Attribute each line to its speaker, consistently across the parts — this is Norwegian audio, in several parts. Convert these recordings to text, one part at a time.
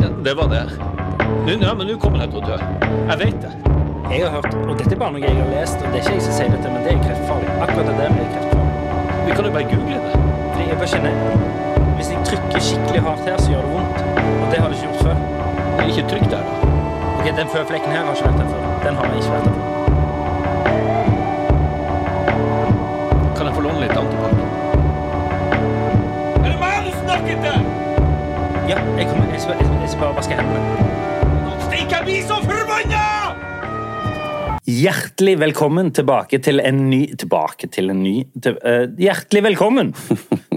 Speaker 1: Ja, det var det. Nu, ja, men nu kommer den att dö. Jag vet det.
Speaker 2: Jeg har hørt, og dette er bare noe jeg har lest, og det er ikke jeg som sier dette, men det er kreftfarlig. Akkurat det der med det er kreftfarlig.
Speaker 1: Vi kan jo bare google det.
Speaker 2: Fordi jeg bare kjenner, hvis jeg trykker skikkelig hardt her, så gjør det vondt. Og det har det ikke gjort før.
Speaker 1: Det er ikke trygt der, da.
Speaker 2: Ok, den flekken her har ikke vært der før. Den har jeg ikke vært der før.
Speaker 1: Kan jeg få låne litt antibac? Er det meg du snakker til?
Speaker 2: Ja, jeg kommer, jeg skal, jeg skal, jeg skal bare vaske hendene.
Speaker 1: Stikk, jeg blir så forbanna!
Speaker 2: Hjertelig velkommen tilbake til en ny Tilbake til en ny til, eh, Hjertelig velkommen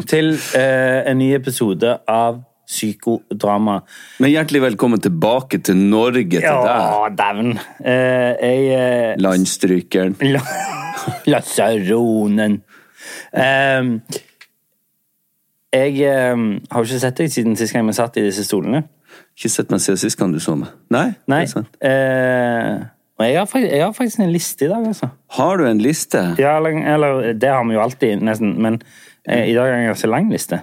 Speaker 2: til eh, en ny episode av Psykodrama.
Speaker 3: Men hjertelig velkommen tilbake til Norge, til deg,
Speaker 2: Ja, dæven. Eh, jeg eh,
Speaker 3: landstrykeren.
Speaker 2: La Lasaronen. Ehm, jeg ehm, har jo ikke sett deg siden sist gang vi satt i disse stolene.
Speaker 3: Ikke sett meg siden sist gang du så meg. Nei?
Speaker 2: Nei.
Speaker 3: det er sant.
Speaker 2: eh, og jeg har, faktisk, jeg har faktisk en liste i dag, altså.
Speaker 3: Har du en liste?
Speaker 2: Ja, lang, eller det har vi jo alltid, nesten, men eh, i dag har jeg en ganske lang liste.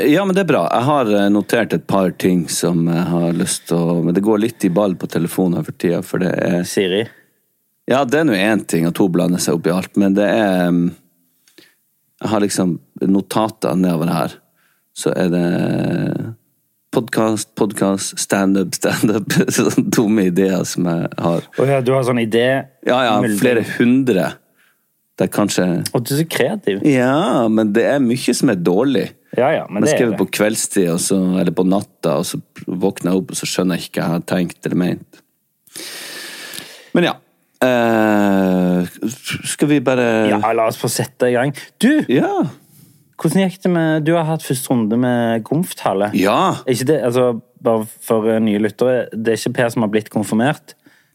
Speaker 3: Ja, men det er bra. Jeg har eh, notert et par ting som jeg har lyst til å Men det går litt i ball på telefonen for tida, for det er
Speaker 2: Siri.
Speaker 3: Ja, det er nå én ting at hun blander seg opp i alt, men det er mm, Jeg har liksom notater nedover her. Så er det podkast, podkast, standup, standup. Sånne dumme ideer som jeg har.
Speaker 2: Og ja, du har sånn idé.
Speaker 3: Ja, ja,
Speaker 2: Mulding.
Speaker 3: flere hundre. Det er kanskje
Speaker 2: Og du er så kreativ.
Speaker 3: Ja, men det er mye som er dårlig.
Speaker 2: Ja, ja, men det
Speaker 3: jeg
Speaker 2: er
Speaker 3: skriver
Speaker 2: det.
Speaker 3: på kveldstid, og så, eller på natta, og så våkner jeg opp, og så skjønner jeg ikke hva jeg har tenkt eller ment. Men ja. Eh, skal vi bare
Speaker 2: Ja, la oss få sette i gang. Du,
Speaker 3: Ja.
Speaker 2: hvordan gikk det med Du har hatt første runde med Gomftale.
Speaker 3: Ja.
Speaker 2: Er Ikke det, altså, bare for eh, nye lyttere, det er ikke Per som har blitt konfirmert.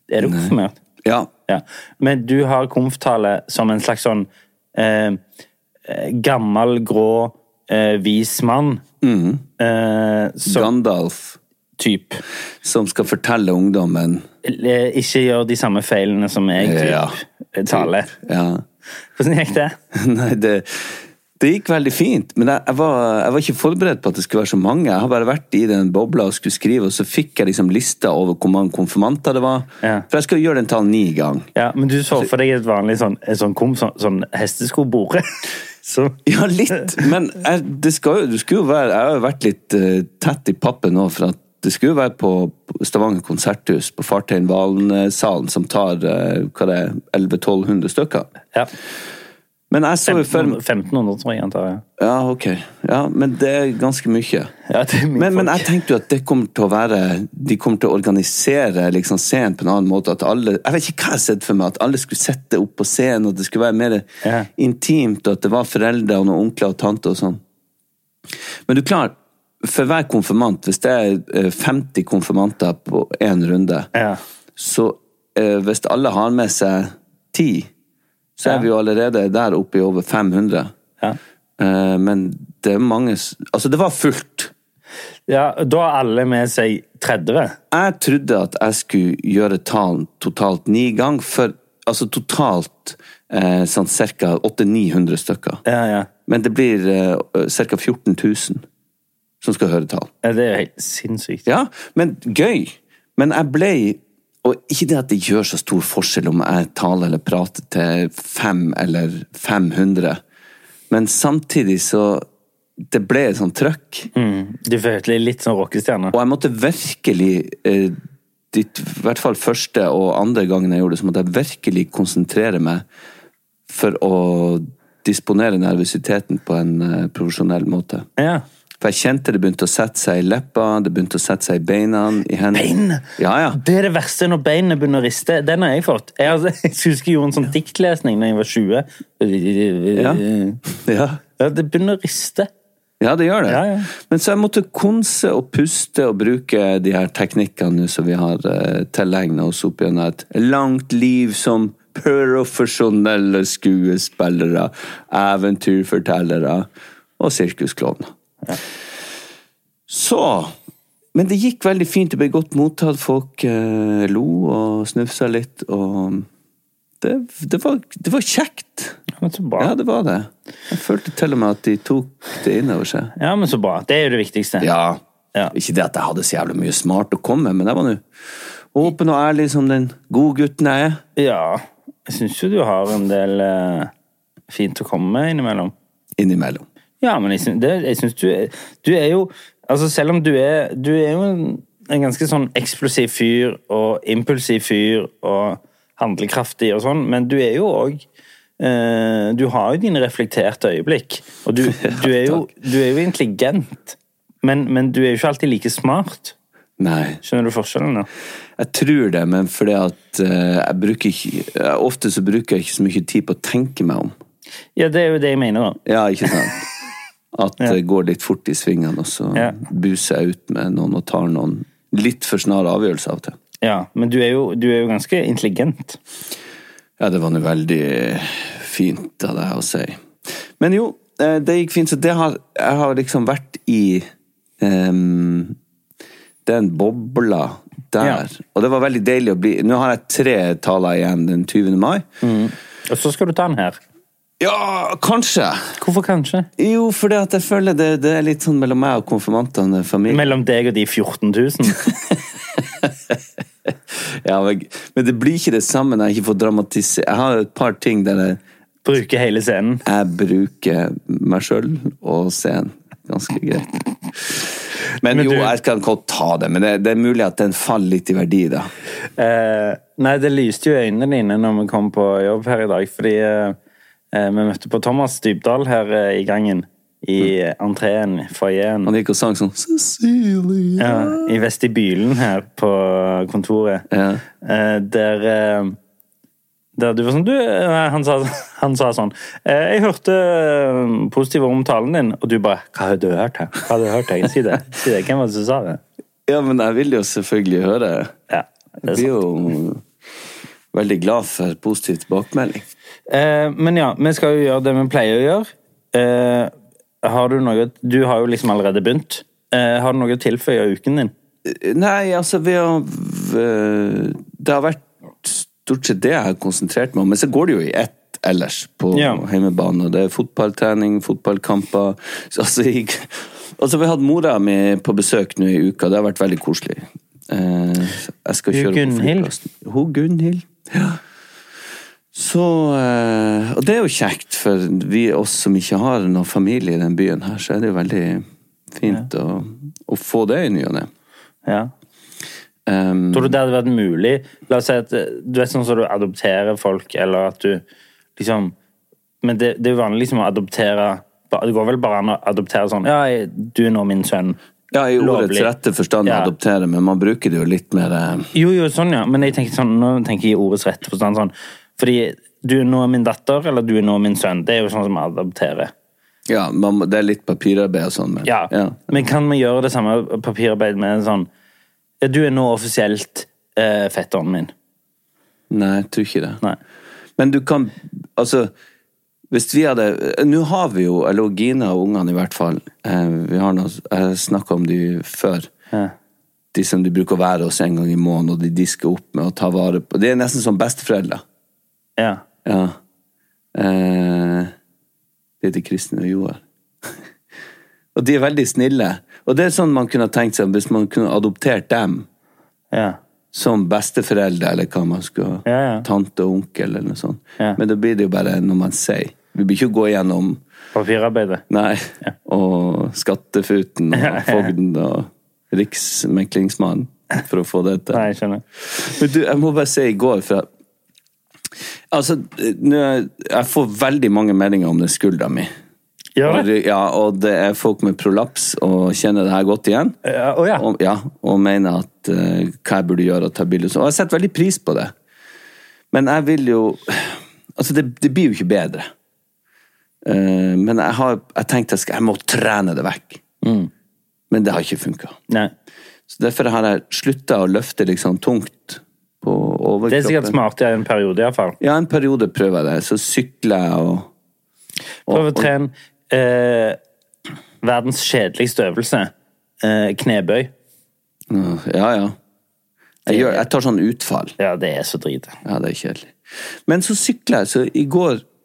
Speaker 2: Er du konfirmert?
Speaker 3: ja.
Speaker 2: Ja. Men du har konftale som en slags sånn eh, eh, gammel, grå, eh, vis mann.
Speaker 3: Mm.
Speaker 2: Eh, som
Speaker 3: Gandalf,
Speaker 2: typ.
Speaker 3: som skal fortelle ungdommen
Speaker 2: Eh, Ikke gjør de samme feilene som jeg typ,
Speaker 3: Ja.
Speaker 2: eh, taler.
Speaker 3: Ja.
Speaker 2: Hvordan gikk det?
Speaker 3: Nei, det, det gikk veldig fint, men jeg, jeg, var, jeg var ikke forberedt på at det skulle være så mange. Jeg har bare vært i den bobla og skulle skrive, og så fikk jeg liksom lista over hvor mange konfirmanter det var.
Speaker 2: Ja.
Speaker 3: For jeg skal gjøre den talen ni gang.
Speaker 2: Ja, men du så for deg et vanlig sånn, en sånn, kom, sånn, sånn hesteskobore. Så,
Speaker 3: Ja, litt, men jeg, det skal, jo- det skulle jo være, jeg har jo vært litt eh, tett i pappen nå, for at det skulle jo være på på Stavanger konserthus, på Fartein Valen-salen, som tar eh, hva det er, 1100-1200 stykker.
Speaker 2: ja.
Speaker 3: Men jeg så jo før
Speaker 2: 1500, tror jeg, antar jeg.
Speaker 3: Ja, ok. Ja, men det er ganske mye.
Speaker 2: Ja, det er mye
Speaker 3: Men, men
Speaker 2: folk.
Speaker 3: jeg tenkte jo at det kommer til å være De kommer til å organisere liksom scenen på en annen måte. At alle, jeg vet ikke hva jeg har sett for meg, at alle skulle sette opp på scenen, og at det skulle være mer
Speaker 2: Ja.
Speaker 3: intimt, og at det var foreldre og noen onkler og tanter og sånn. Men du er klar, for hver konfirmant, hvis det er eh, 50 konfirmanter på én runde,
Speaker 2: Ja.
Speaker 3: så eh, hvis alle har med seg 10, så
Speaker 2: Ja.
Speaker 3: er vi jo allerede der oppe i over 500.
Speaker 2: Ja.
Speaker 3: Eh, men det er mange s- Altså, det var fullt.
Speaker 2: Ja, da har alle med seg 30.
Speaker 3: jeg trodde at jeg skulle gjøre talen totalt ni ganger, for altså totalt eh, sånn ca. 800-900 stykker.
Speaker 2: Ja, ja.
Speaker 3: Men det blir eh, ca. 14 000 som skal høre talen.
Speaker 2: Ja, Det er jo helt sinnssykt.
Speaker 3: Ja, men gøy. Men jeg ble Og ikke det at det gjør så stor forskjell om jeg taler eller prater til fem eller 500, men samtidig så Det ble et sånt trøkk.
Speaker 2: Du følte deg litt som rockestjerne.
Speaker 3: Og jeg måtte virkelig eh, ditt, I hvert fall første og andre gangen jeg gjorde det, så måtte jeg virkelig konsentrere meg for å disponere nervøsiteten på en eh, profesjonell måte.
Speaker 2: Ja.
Speaker 3: For jeg kjente det begynte å sette seg i leppa, det begynte å sette seg i beina, i hendene
Speaker 2: Bein?
Speaker 3: Ja, ja.
Speaker 2: Det er det verste når beinene begynner å riste. Den har jeg fått. Jeg, har- jeg husker jeg gjorde en sånn diktlesning da jeg var 20.
Speaker 3: Ja. ja.
Speaker 2: Ja, det begynner å riste.
Speaker 3: Ja, det gjør det.
Speaker 2: Ja, ja.
Speaker 3: Men så jeg måtte konse og puste og bruke de her teknikkene nå som vi har eh, tilegna oss opp gjennom et langt liv som profesjonelle skuespillere, eventyrfortellere og sirkusklovner. Så Men det gikk veldig fint. Det ble godt mottatt. Folk eh, lo og snufsa litt, og det, det, var, det var kjekt.
Speaker 2: Ja, men så bra.
Speaker 3: Ja, det var det. Jeg følte til og med at de tok det innover seg.
Speaker 2: Ja, men så bra. Det er jo det viktigste.
Speaker 3: Ja.
Speaker 2: Ja.
Speaker 3: Ikke det at jeg hadde så jævlig mye smart å komme med, men jeg var nå åpen og ærlig som den gode gutten jeg er.
Speaker 2: Ja. Jeg syns jo du har en del eh, fint å komme med innimellom.
Speaker 3: Innimellom.
Speaker 2: Ja, men jeg syns, det, jeg syns du, er- du er jo Altså, selv om du er Du er jo en, en ganske sånn eksplosiv fyr og impulsiv fyr og handlekraftig og sånn, men du er jo òg eh, Du har jo dine reflekterte øyeblikk. Og du, du, er, jo, du er jo intelligent, men, men du er jo ikke alltid like smart.
Speaker 3: Nei.
Speaker 2: Skjønner du forskjellen? da?
Speaker 3: Jeg tror det, men fordi at eh, jeg bruker ikke eh, Ofte så bruker jeg ikke så mye tid på å tenke meg om.
Speaker 2: Ja, det er jo det jeg mener, da.
Speaker 3: Ja, ikke sant? At det går litt fort i svingene, og så
Speaker 2: Ja.
Speaker 3: buser jeg ut med noen og tar noen litt for snare avgjørelser av og til.
Speaker 2: Ja, Men du er jo, du er jo ganske intelligent.
Speaker 3: Ja, det var nå veldig eh, fint av deg å si. Men jo, eh, det gikk fint. Så det har, jeg har liksom vært i ehm, den bobla der.
Speaker 2: Ja.
Speaker 3: Og det var veldig deilig å bli Nå har jeg tre taler igjen den 20. mai.
Speaker 2: Og så skal du ta den her.
Speaker 3: Ja, kanskje!
Speaker 2: Hvorfor kanskje?
Speaker 3: Jo, fordi at jeg føler det, det er litt sånn mellom meg og konfirmantene. Familie.
Speaker 2: Mellom deg og de 14 000?
Speaker 3: Ja, men, men det blir ikke det samme når jeg ikke får dramatisere. Jeg har et par ting der jeg
Speaker 2: Bruke hele scenen?
Speaker 3: jeg bruker meg sjøl og scenen ganske greit. Men,
Speaker 2: Men
Speaker 3: jo,
Speaker 2: du-
Speaker 3: jeg skal godt ta det, men det, det er mulig at den faller litt i verdi, da.
Speaker 2: Eh, nei, det lyste jo i øynene dine når vi kom på jobb her i dag, fordi eh, eh, vi møtte på Thomas Dybdahl her eh, i gangen. I eh, entreen, foajeen.
Speaker 3: Han gikk og sang sånn Cecilie
Speaker 2: Ja, I vestibylen her på kontoret.
Speaker 3: Ja.
Speaker 2: Eh, der eh, der du var sånn du, eh, han, sa, han sa sånn eh, 'Jeg hørte eh, positive om talen din.' Og du bare 'Hva har du hørt?' her? Hva har du hørt her? Si det. Si det. Hvem var det som sa det?
Speaker 3: Ja, men jeg vil jo selvfølgelig høre.
Speaker 2: Ja, det er
Speaker 3: Jeg blir
Speaker 2: sant.
Speaker 3: jo veldig glad for positiv tilbakemelding.
Speaker 2: Eh, men ja, vi skal jo gjøre det vi pleier å gjøre. Eh, har du noe Du har jo liksom allerede begynt. Eh, har du noe å tilføye av uken din?
Speaker 3: Nei, altså ved å v- Det har vært stort sett det jeg har konsentrert meg om. Men så går det jo i ett ellers på
Speaker 2: Ja.
Speaker 3: hjemmebane. og Det er fotballtrening, fotballkamper så, altså, jeg, altså, vi har hatt mora mi på besøk nå i uka. Det har vært veldig koselig. Eh, så jeg skal
Speaker 2: Hun
Speaker 3: kjøre på
Speaker 2: Gunnhild?
Speaker 3: flyplassen. Hun Gunnhild. Ja. Så eh, Og det er jo kjekt, for vi oss som ikke har noen familie i den byen her, så er det jo veldig fint å, å få det i ny og ne.
Speaker 2: Ja.
Speaker 3: Um,
Speaker 2: Tror du det hadde vært mulig La oss si at eh, du vet sånn som du adopterer folk, eller at du liksom Men det, det er jo vanlig liksom å adoptere ba- Det går vel bare an å adoptere sånn Ja, jeg- du er nå min sønn.
Speaker 3: Ja, i ordets
Speaker 2: Lovlig.
Speaker 3: rette forstand å
Speaker 2: Ja.
Speaker 3: adoptere, men man bruker det jo litt mer eh,
Speaker 2: Jo, jo, sånn, ja. Men jeg tenker sånn, nå tenker jeg i ordets rette forstand sånn Fordi du er nå min datter, eller du er nå min sønn. Det er jo sånn som vi adopterer.
Speaker 3: Ja, man, må- det er litt papirarbeid og sånn, men
Speaker 2: Ja.
Speaker 3: ja.
Speaker 2: Men kan vi gjøre det samme papirarbeidet med en sånn ja, Du er nå offisielt eh, fetteren min.
Speaker 3: Nei, jeg tror ikke det.
Speaker 2: Nei.
Speaker 3: Men du kan Altså, hvis vi hadde Nå har vi jo, eller Gina og ungene i hvert fall eh, Vi har noe, Jeg snakka om de før. De som de bruker å være hos en gang i måneden, og de disker opp med å ta vare på Det er nesten som besteforeldre.
Speaker 2: Ja.
Speaker 3: Ja. Eh, det heter Kristin og Joar. og de er veldig snille. Og det er sånn man kunne ha tenkt seg hvis man kunne adoptert dem.
Speaker 2: ja.
Speaker 3: Som besteforeldre, eller hva man skulle
Speaker 2: Ja, ja.
Speaker 3: Tante og onkel, eller noe sånt.
Speaker 2: Ja.
Speaker 3: Men da blir det jo bare noe man sier. Vi blir ikke å gå gjennom
Speaker 2: Papirarbeidet.
Speaker 3: Nei. Og Skattefuten og Fogden og Riksmeklingsmannen for å få det til.
Speaker 2: Nei, jeg skjønner.
Speaker 3: Men du, jeg må bare si i går, for jeg Altså, nå er- jeg får veldig mange meldinger om den skuldra mi.
Speaker 2: Gjør
Speaker 3: Og,
Speaker 2: det?
Speaker 3: det- ja, og det er folk med prolaps og kjenner det her godt igjen.
Speaker 2: Ja, Å ja.
Speaker 3: Og, ja, og mener at eh, hva jeg burde gjøre, og ta bilde og sånn. Og jeg setter veldig pris på det. Men jeg vil jo Altså, det, det blir jo ikke bedre. Eh, men jeg har jeg tenkte jeg, skal, jeg må trene det vekk.
Speaker 2: Mm.
Speaker 3: Men det har ikke funka.
Speaker 2: Nei.
Speaker 3: Så Derfor har jeg slutta å løfte liksom tungt på overkroppen.
Speaker 2: Det er sikkert smart i en periode, iallfall.
Speaker 3: Ja, en periode prøver jeg det. Så sykler jeg og
Speaker 2: Prøv å trene eh, verdens kjedeligste øvelse. Eh, knebøy.
Speaker 3: Ja, ja. Jeg, gjør, jeg tar sånn utfall.
Speaker 2: Ja, det er så drit.
Speaker 3: Ja, det er kjedelig. Men så sykler jeg, så i går tenkte jeg,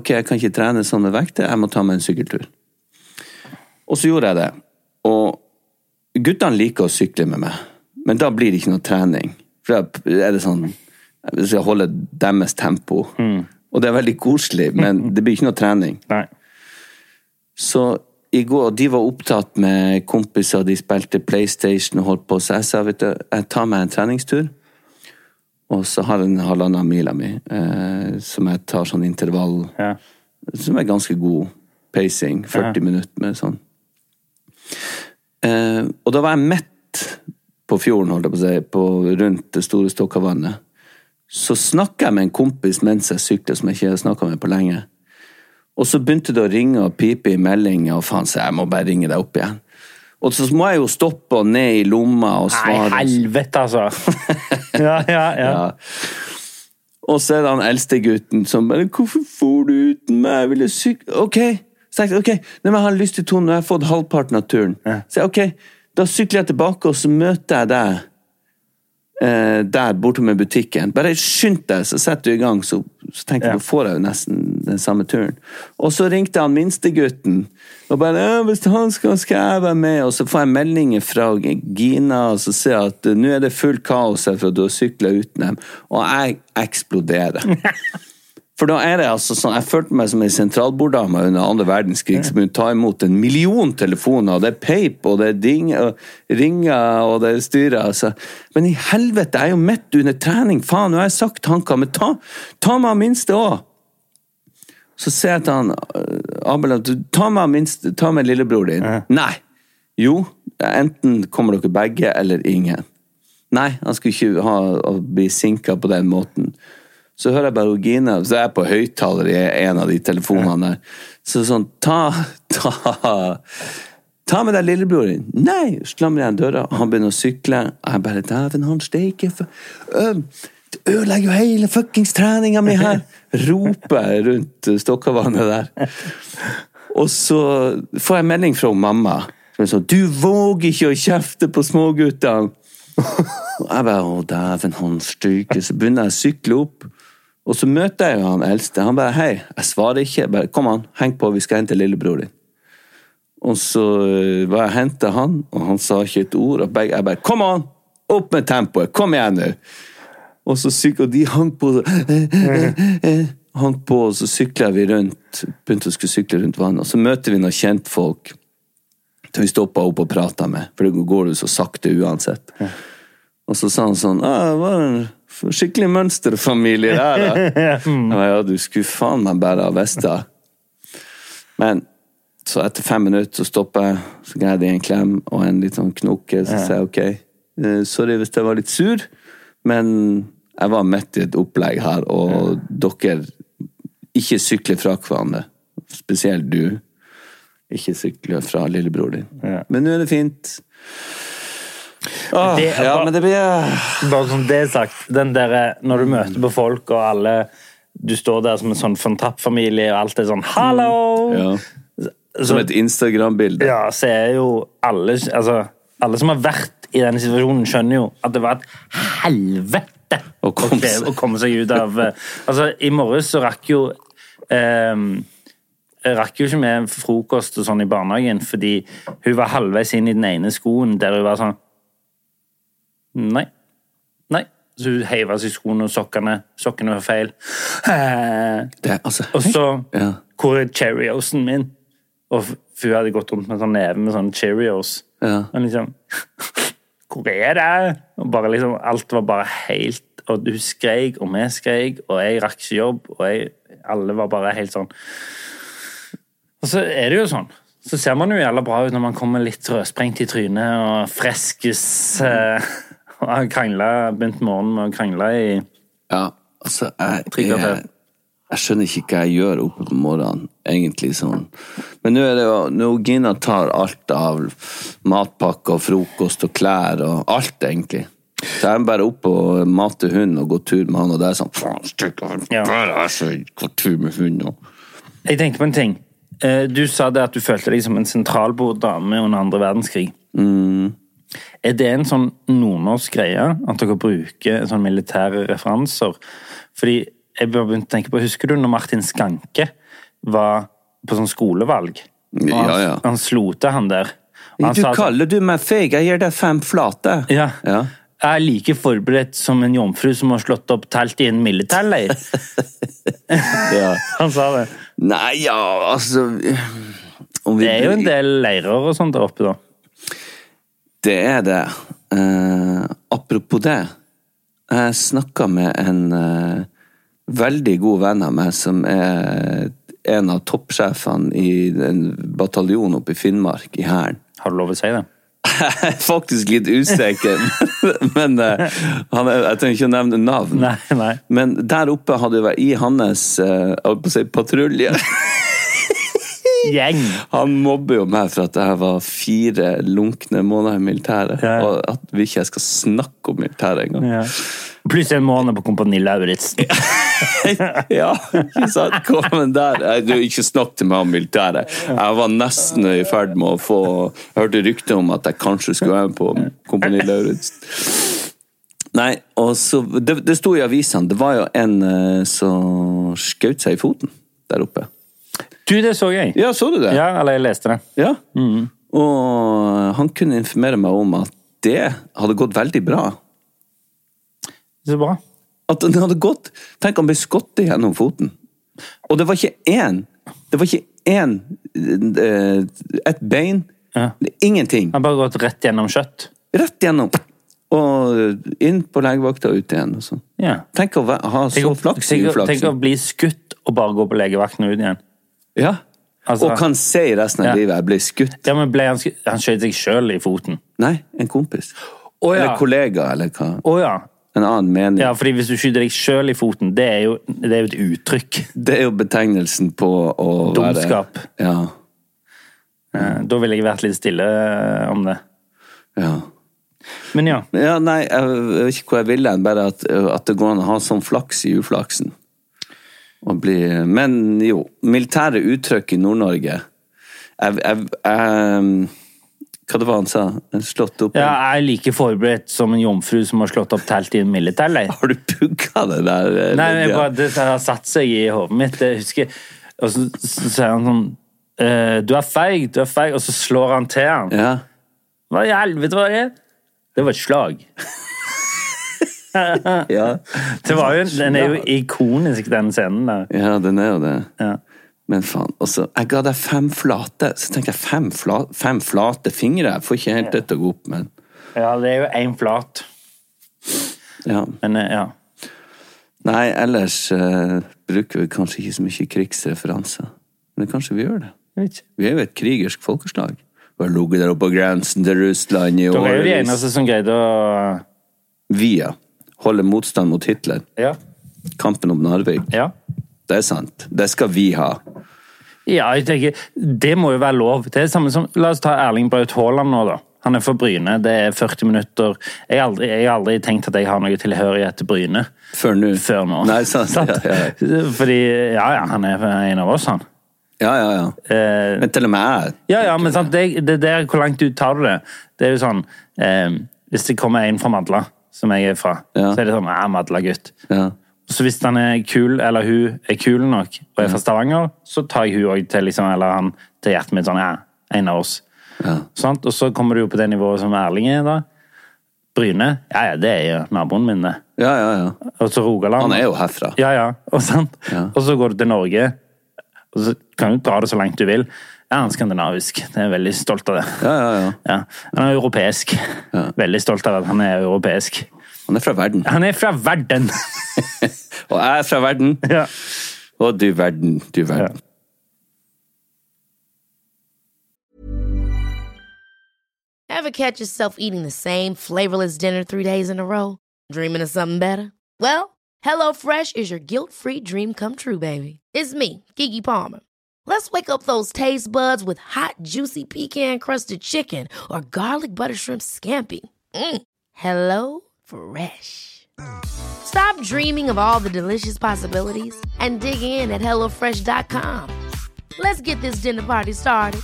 Speaker 3: Ok, jeg kan ikke trene sånn med vekter, jeg må ta meg en sykkeltur. Og så gjorde jeg det. Og guttene liker å sykle med meg, men da blir det ikke noe trening. For da er det sånn Jeg skal holde deres tempo. Og det er veldig koselig, men det blir ikke noe trening.
Speaker 2: Nei.
Speaker 3: Så i går, de var opptatt med kompiser, de spilte Playstation og holdt på, så jeg sa, vet du, jeg tar meg en treningstur, og så har jeg en halvannen mila mi, eh, som jeg tar sånn intervall,
Speaker 2: Ja.
Speaker 3: som er ganske god pacing, 40 minutter med sånn. Eh, og da var jeg mett på fjorden, holdt jeg på å si, på, rundt det store Stokkavannet. Så snakket jeg med en kompis mens jeg syklet, som jeg ikke har snakket med på lenge. Og så begynte det å ringe og pipe i meldinger, og faen, så jeg må bare ringe deg opp igjen. Og så må jeg jo stoppe og ned i lomma og
Speaker 2: Nei,
Speaker 3: svare.
Speaker 2: helvete, altså! Ja, ja, ja.
Speaker 3: Ja. Og så er det han eldste gutten som bare 'Hvorfor for du uten meg? Jeg ville sykle Ok, så tenkte jeg, ok, nei, men jeg har lyst til to, nå har jeg fått halvparten av turen. Så jeg, ok, da sykler jeg tilbake, og så møter jeg deg eh, der borte med butikken. Bare skynd deg, så setter du i gang, så, så tenker jeg, da får jeg jo nesten den samme turen. Og så ringte han minstegutten, og bare «Ja, 'Hvis han skal, skal jeg være med', og så får jeg meldinger fra Gina, og så ser jeg at eh, 'nå er det fullt kaos her, for du har sykla uten dem', og jeg eksploderer. For da er det altså sånn, Jeg følte meg som en sentralborddame under andre verdenskrig som kunne ta imot en million telefoner, og det er peip, og det er ding, og ringer, og det er styrer. Altså. Men i helvete, jeg er jo midt under trening! Faen, nå har jeg sagt tanker, men ta, ta meg av minste òg! Så sier jeg til han øh, Abel at du, ta meg, av minste, ta meg lillebror din. Nei! Jo, enten kommer dere begge, eller ingen. Nei, han skulle ikke ha, å bli sinka på den måten. Så hører jeg bare Gina, så er jeg på høyttaler i en av de telefonene der. Så sånn, ta, ta Ta med deg lillebror din. Nei! Slammer igjen døra, han begynner å sykle. Jeg bare Dæven, han steiker for Øhm, Det ødelegger jo hele fuckings treninga mi her! Roper jeg rundt eh, Stokkavannet der. Og så får jeg melding fra mamma. Som er sånn Du våger ikke å kjefte på småguttene! Og jeg bare, å dæven, han stryker. Så begynner jeg å sykle opp. Og så møter jeg jo han eldste. Han bare, hei, jeg svarer ikke. Jeg bare, Kom an, heng på, vi skal hente lillebror din. Og så eh, var jeg hentet han, og han sa ikke et ord. Og begge, jeg bare, kom an, opp med tempoet, kom igjen nå. Og så syk, og de hang på, så, hang på, og så syklet vi rundt, begynte å skulle sykle rundt vannet. Og så møter vi noen kjent folk, som vi stoppet opp og pratet med, for det går jo så sakte uansett. Og så sa han sånn «Ja, Det var en f- skikkelig mønsterfamilie der, da. Jeg ba, ja, du skulle faen meg bære av vesta. Men så etter fem minutter så stopper jeg, så ga jeg dem en klem og en litt sånn knoke. Så sier jeg ok, eh, sorry hvis jeg var litt sur, men jeg var midt i et opplegg her, og dere ikke sykler fra hverandre. Spesielt du. Ikke sykler fra lillebror din. Men nå er det fint. Åh,
Speaker 2: det er
Speaker 3: ja,
Speaker 2: bare-
Speaker 3: men det blir eh,
Speaker 2: Bare som det er sagt, den derre Når du møter på folk, og alle Du står der som en sånn fantapp-familie, og alt er sånn 'hallo'!
Speaker 3: Ja. Som et Instagram-bilde.
Speaker 2: Ja, så er jo alle Altså, alle som har vært i denne situasjonen, skjønner jo at det var et helvete
Speaker 3: Å komme
Speaker 2: kreve-
Speaker 3: seg-
Speaker 2: å komme seg ut av eh, Altså, i morges så rakk jo eh, jeg rakk jo ikke med frokost og sånn i barnehagen, fordi hun var halvveis inn i den ene skoen der hun var sånn Nei. Så hun heiv av seg skoene og sokkene. Sokkene var feil. Eh,
Speaker 3: Det, er- altså,
Speaker 2: Og så
Speaker 3: Ja.
Speaker 2: Hvor er Cheeriosen min? Og f- for hun hadde gått rundt med en sånn neve med sånne Cheerios.
Speaker 3: Ja.
Speaker 2: Og liksom Hvor er det? Og bare liksom, alt var bare helt Og hun skreik, og vi skreik, og jeg rakk ikke jobb, og jeg, alle var bare helt sånn Og så er det jo sånn. Så ser man jo jævla bra ut når man kommer litt rødsprengt i trynet og freskes eh, og har krangla, begynt morgenen med å krangle i
Speaker 3: ja, altså jeg,
Speaker 2: Trigger
Speaker 3: jeg,
Speaker 2: det.
Speaker 3: jeg skjønner ikke hva jeg gjør oppe på morgenen, egentlig. sånn. Men nå er det jo Når Gina tar alt av matpakke og frokost og klær og alt, egentlig. Så jeg er bare oppe og mate hund og gå tur med han, og det er sånn Faen, stykker,
Speaker 2: Ja.
Speaker 3: bare jeg skal gå tur med hund nå.
Speaker 2: Jeg tenkte på en ting. Eh, Du sa det at du følte deg som en sentralborddame under andre verdenskrig.
Speaker 3: Mm.
Speaker 2: Er det en sånn nordnorsk greie at dere bruker sånne militære referanser? Fordi jeg bare begynte å tenke på, Husker du når Martin Skanke var på sånn skolevalg? Og han,
Speaker 3: Ja, ja.
Speaker 2: han slo til han der. Og han
Speaker 3: Du
Speaker 2: sa sånn-
Speaker 3: kaller du meg feig, jeg gir deg fem flate.
Speaker 2: ja.
Speaker 3: ja.
Speaker 2: Jeg er like forberedt som en jomfru som har slått opp telt i en militærleir.
Speaker 3: Ja.
Speaker 2: Han sa det.
Speaker 3: Nei, ja, altså om vi-
Speaker 2: Det er jo en del leirer og sånt der oppe, da.
Speaker 3: Det er det. Eh, apropos det. Jeg snakka med en eh, veldig god venn av meg som er en av toppsjefene i en bataljon oppe i Finnmark, i Hæren.
Speaker 2: Har du lov å si det?
Speaker 3: Jeg er faktisk litt usikker, men eh, han er, jeg trenger ikke å nevne navn.
Speaker 2: Nei, nei.
Speaker 3: Men der oppe hadde jeg vært i hans eh, jeg holdt på å si patrulje.
Speaker 2: Gjeng!
Speaker 3: Han mobber jo meg for at jeg var fire lunkne måneder i militæret.
Speaker 2: Ja.
Speaker 3: Og at vi ikke skal snakke om militæret engang.
Speaker 2: Ja. Pluss en måned på Kompani Lauritzen.
Speaker 3: ja, ikke sant? Kom der. Nei, Du, ikke snakk til meg om militæret. Jeg var nesten i ferd med å få Jeg hørte rykte om at jeg kanskje skulle være med på Kompani Lauritzen. Nei, og så Det, det sto i avisene. Det var jo en eh, som skjøt seg i foten der oppe.
Speaker 2: Du, det så jeg.
Speaker 3: Ja, så du det?
Speaker 2: Ja, eller jeg leste det.
Speaker 3: Ja.
Speaker 2: Mm.
Speaker 3: Og han kunne informere meg om at det hadde gått veldig bra.
Speaker 2: Så bra.
Speaker 3: At det hadde gått Tenk, han ble skutt gjennom foten. Og det var ikke én Det var ikke én eh, Et bein.
Speaker 2: Ja.
Speaker 3: Ingenting.
Speaker 2: Han har bare gått rett gjennom kjøtt.
Speaker 3: Rett gjennom. Og inn på legevakta og ut igjen. Og sånn.
Speaker 2: Ja.
Speaker 3: Tenk å væ- ha så
Speaker 2: Tenk, å-
Speaker 3: flaks i
Speaker 2: tenk, å- tenk å
Speaker 3: uflaksen.
Speaker 2: bli skutt og bare gå på legevakten og ut igjen.
Speaker 3: Ja.
Speaker 2: Altså-
Speaker 3: og kan si resten av
Speaker 2: Ja.
Speaker 3: livet jeg ble skutt.
Speaker 2: Ja, men ble han, sk- han skjøt seg sjøl i foten.
Speaker 3: Nei, en kompis.
Speaker 2: Å, ja.
Speaker 3: Eller kollega, eller hva.
Speaker 2: Å ja.
Speaker 3: En annen mening.
Speaker 2: ja. fordi hvis du skyter deg sjøl i foten, det er jo, det er jo et uttrykk.
Speaker 3: Det er jo betegnelsen på å
Speaker 2: Dumskap.
Speaker 3: være Ja.
Speaker 2: Eh, Da ville jeg vært litt stille eh, om det.
Speaker 3: ja.
Speaker 2: Men ja.
Speaker 3: Men ja, nei, jeg jeg vet ikke hvor jeg ville hen, bare at, at det går an å ha sånn flaks i uflaksen. Og bli, men jo, militære uttrykk i Nord-Norge jeg, jeg, jeg, Hva det var han sa? Slått opp en-
Speaker 2: ja. Jeg er like forberedt som en jomfru som har slått opp telt i en militærleir.
Speaker 3: Har du pugga det der? eh,
Speaker 2: Nei, men jeg
Speaker 3: Lydia?
Speaker 2: bare, det har satt seg i hodet mitt. Jeg husker Og så så sier han sånn eh, Du er feig, du er feig. Og så slår han til han.
Speaker 3: ja.
Speaker 2: Hva i helvete var det? Det var et slag.
Speaker 3: Ja.
Speaker 2: Det var jo, den er jo ikonisk, den scenen der.
Speaker 3: ja, den er jo det.
Speaker 2: Ja.
Speaker 3: Men faen, og så, jeg ga deg fem flate Så tenkte jeg, fem, fla, fem flate fingre? Jeg får ikke helt det til å gå opp, men
Speaker 2: ja, det er jo én flat.
Speaker 3: ja.
Speaker 2: Men eh, ja.
Speaker 3: Nei, ellers eh, bruker vi kanskje ikke så mye krigsreferanser. Men kanskje vi gjør det.
Speaker 2: Jeg vet ikke.
Speaker 3: Vi er jo et krigersk folkeslag. Vi har ligget der oppe på grensen til Russland i
Speaker 2: Dere er jo de
Speaker 3: årevis.
Speaker 2: eneste som greide å
Speaker 3: Via. Holde motstand mot Hitler.
Speaker 2: Ja.
Speaker 3: Kampen om Narvik.
Speaker 2: ja.
Speaker 3: Det er sant. Det skal vi ha.
Speaker 2: Ja, jeg tenker, Det må jo være lov. Det er det samme som, La oss ta Erling Braut Haaland nå, da. Han er fra Bryne. Det er 40 minutter. Jeg har aldri, jeg har aldri tenkt at jeg har noe tilhørighet til Bryne
Speaker 3: Før nå.
Speaker 2: før nå.
Speaker 3: Nei, sant. Ja, ja, ja.
Speaker 2: Fordi Ja, ja, han er en av oss, han.
Speaker 3: ja, ja, ja.
Speaker 2: Eh,
Speaker 3: Men til og med jeg.
Speaker 2: ja, ja, men sant, det, det der, hvor langt ut tar du det? Det er jo sånn eh, Hvis det kommer en fra Madla, som jeg er fra,
Speaker 3: Ja.
Speaker 2: så er det sånn Ja, Madla-gutt.
Speaker 3: Ja.
Speaker 2: Så hvis han er kul, eller hun er kul nok, og er fra Stavanger, så tar jeg hun også til, liksom, eller han, til hjertet mitt sånn, ja, en av oss. Sant? Og så kommer du jo på det nivået som Erling er da. Bryne, ja, ja, det er jo naboen min det.
Speaker 3: Ja, ja, ja.
Speaker 2: og så Rogaland.
Speaker 3: Han er jo herfra.
Speaker 2: Ja, ja. Og, sant?
Speaker 3: Ja.
Speaker 2: og så går du til Norge, og så kan du dra det så langt du vil. Ja, han er skandinavisk. Jeg er veldig stolt av det.
Speaker 3: Ja, ja, ja.
Speaker 2: Ja. Han er europeisk. Veldig stolt av at han er europeisk.
Speaker 3: Han er fra verden.
Speaker 2: Han er fra verden!
Speaker 3: Og jeg er fra verden.
Speaker 2: ja.
Speaker 3: Og du verden, du verden.
Speaker 4: Ever catch yourself eating the same flavorless dinner three days in a row? Dreaming of something better? Well, HelloFresh is your guilt free dream come true, baby. It's me, Gigi Palmer. Let's wake up those taste buds with hot, juicy pecan crusted chicken or garlic butter shrimp scampi. Mm. Hello Fresh. Stop dreaming of all the delicious possibilities and dig in at HelloFresh.com. Let's get this dinner party started.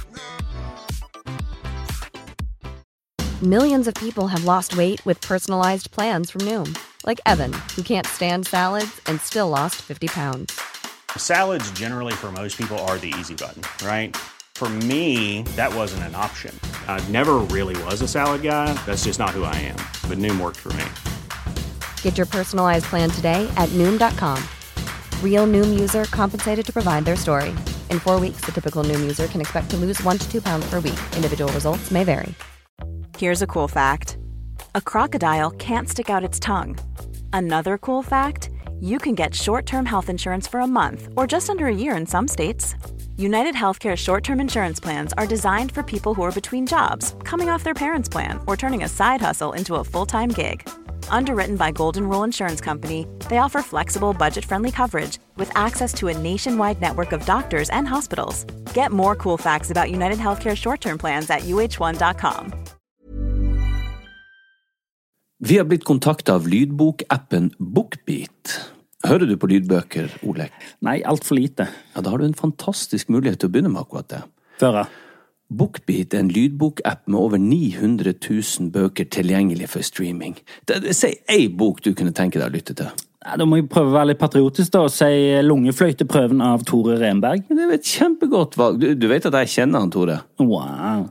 Speaker 5: Millions of people have lost weight with personalized plans from Noom, like Evan, who can't stand salads and still lost 50 pounds.
Speaker 6: Salads, generally, for most people, are the easy button, right? For me, that wasn't an option. I never really was a salad guy. That's just not who I am. But Noom worked for me.
Speaker 5: Get your personalized plan today at Noom.com. Real Noom user compensated to provide their story. In four weeks, the typical Noom user can expect to lose one to two pounds per week. Individual results may vary.
Speaker 7: Here's a cool fact a crocodile can't stick out its tongue. Another cool fact you can get short term health insurance for a month or just under a year in some states. United Healthcare short term insurance plans are designed for people who are between jobs, coming off their parents' plan, or turning a side hustle into a full time gig. Underwritten by Golden Rule Insurance Company, they offer flexible, budget friendly coverage with access to a nationwide network of doctors and hospitals. Get more cool facts about United Healthcare short term plans at uh1.com.
Speaker 3: Vi har blitt kontakta av lydbokappen Bookbeat. Hører du på lydbøker, Olek?
Speaker 2: Nei, altfor lite.
Speaker 3: Ja, da har du en fantastisk mulighet til å begynne med akkurat det.
Speaker 2: Føra.
Speaker 3: Bookbeat er en lydbokapp med over 900 000 bøker tilgjengelig for streaming. Det, det, si ei bok du kunne tenke deg å lytte til.
Speaker 2: Nei, Da må jeg prøve å være litt patriotisk da, og si eh, Lungefløyteprøven av Tore Renberg.
Speaker 3: Det er et kjempegodt valg. Du, du vet at jeg kjenner han, Tore?
Speaker 2: Wow.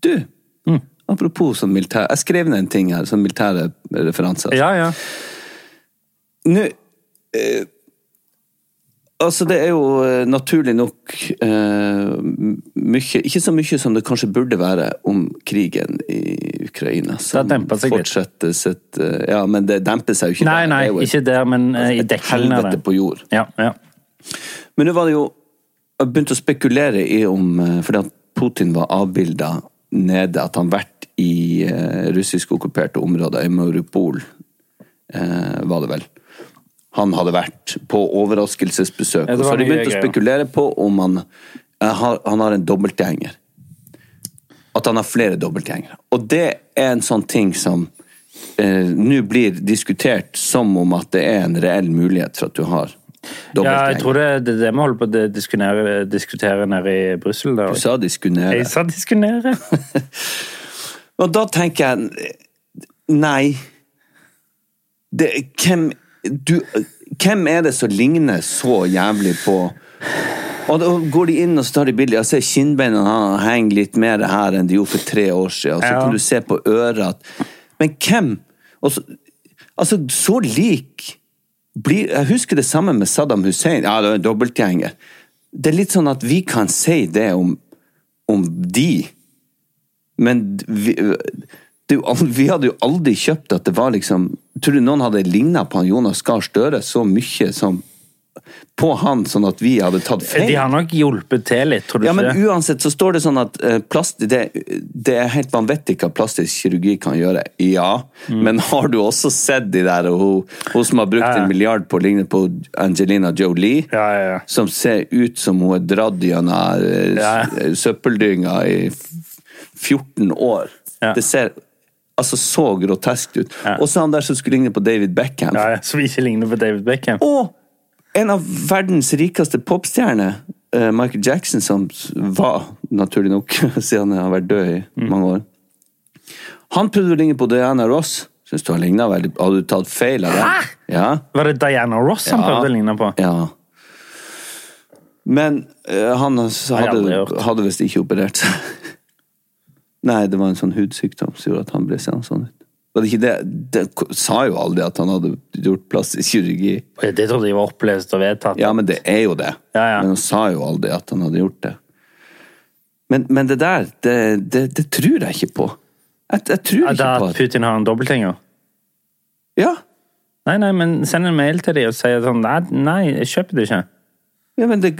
Speaker 3: Du,
Speaker 2: Mm.
Speaker 3: apropos sånn militær... Jeg skrev ned en ting her, sånn militære referanser.
Speaker 2: ja.
Speaker 3: Nå eh, Altså, det er jo eh, naturlig nok eh, m- mye Ikke så mye som det kanskje burde være om krigen i Ukraina.
Speaker 2: Det
Speaker 3: Som
Speaker 2: har dempet seg litt.
Speaker 3: fortsetter sitt eh, Ja, men det demper seg jo ikke.
Speaker 2: Nei,
Speaker 3: Det
Speaker 2: nei,
Speaker 3: er jo et- altså,
Speaker 2: ikke der, men eh, i
Speaker 3: et
Speaker 2: dekkingen av det.
Speaker 3: Helvete på jord.
Speaker 2: Ja, ja.
Speaker 3: Men nå var det jo Jeg begynte å spekulere i om eh, Fordi at Putin var avbilda nede, at han vært i eh, russisk-okkuperte områder, i Mauropol, eh, var det vel. Han hadde vært på overraskelsesbesøk.
Speaker 2: Ja, det
Speaker 3: Og så
Speaker 2: var
Speaker 3: har de
Speaker 2: mye
Speaker 3: begynt å
Speaker 2: greier.
Speaker 3: spekulere på om han eh, har, han har en dobbeltgjenger. At han har flere dobbeltgjengere. Og det er en sånn ting som eh, nå blir diskutert som om at det er en reell mulighet for at du har
Speaker 2: ja,
Speaker 3: dobbeltgjenger.
Speaker 2: jeg tror det det er det vi holder på å di- diskunere- diskutere nede i Brussel. der.
Speaker 3: Du sa de skulle ned.
Speaker 2: Jeg sa diskunere.
Speaker 3: Og da tenker jeg Nei. Det, hvem, du, hvem er det som ligner så jævlig på Og da går de inn og så tar de bilder. Jeg ser kinnbeina han henger litt mer her enn de gjorde for tre år siden. Og så
Speaker 2: Ja.
Speaker 3: kan du se på øret at Men hvem og så, Altså, så lik blir Jeg husker det samme med Saddam Hussein. Ja, det var en dobbeltgjenger. Det er litt sånn at vi kan si det om, om de. Men vi, det er jo al- vi hadde jo aldri kjøpt at det var liksom Tror du noen hadde ligna på han Jonas Gahr Støre så mye som på han, sånn at vi hadde tatt feil?
Speaker 2: De har nok hjulpet til litt, tror du
Speaker 3: Ja, men
Speaker 2: ikke det?
Speaker 3: uansett så står det sånn at eh, plast, det, det er helt vanvittig hva plastisk kirurgi kan gjøre. Ja,
Speaker 2: Mm.
Speaker 3: men har du også sett de der, og hun, hun som har brukt
Speaker 2: Ja, ja.
Speaker 3: en milliard på å ligne på Angelina Jolie, som ser ut som hun er dratt gjennom eh, s- søppeldynga i f- 14 år. Det ser altså så grotesk ut. Og så han der som skulle ligne på David Beckham.
Speaker 2: Ja, ja, som ikke ligner på David Beckham.
Speaker 3: Og en av verdens rikeste popstjerner, eh, Michael Jackson, som s- var, naturlig nok, siden han har vært død i mange år Han prøvde å ligne på Diana Ross. Syns du han ligna veldig Hadde du tatt feil av det? Ja.
Speaker 2: Var det Diana Ross han
Speaker 3: Ja.
Speaker 2: prøvde å ligne på?
Speaker 3: Ja. Men eh, han s-
Speaker 2: Har jeg aldri
Speaker 3: hadde,
Speaker 2: hørt.
Speaker 3: hadde visst ikke operert seg. Nei, det var en sånn hudsykdom som gjorde at han ble seende sånn ut. Var det ikke det? Det ko- sa jo aldri at han hadde gjort plastisk kirurgi.
Speaker 2: Det trodde jeg var opplest og vedtatt.
Speaker 3: Ja, men det er jo det. Men han sa jo aldri at han hadde gjort det. Men, men det der, det, det, det tror jeg ikke på. Jeg, jeg tror
Speaker 2: Ja, da at Putin har en dobbeltgjenger?
Speaker 3: Ja.
Speaker 2: Nei, nei, men send en mail til dem og si sånn Nei, nei jeg kjøper det ikke.
Speaker 3: Ja, men det,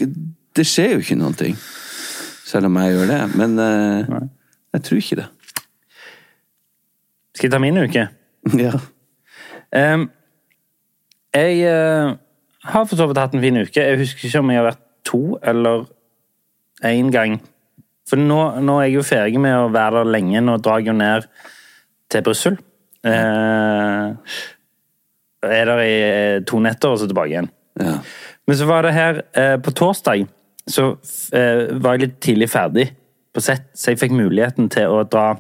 Speaker 3: det skjer jo ikke noen ting. Selv om jeg gjør det. Men eh, jeg tror ikke det.
Speaker 2: Skal jeg ta min uke?
Speaker 3: Ja.
Speaker 2: Em, jeg eh, har for så vidt hatt en fin uke. Jeg husker ikke om jeg har vært to eller én gang. For nå, nå er jeg jo ferdig med å være der lenge. Nå drar jeg jo ned til Brussel. Eh, er der i eh, to netter og så tilbake igjen. Men så var det her eh, på torsdag så eh, var jeg litt tidlig ferdig på sett, så jeg fikk muligheten til å dra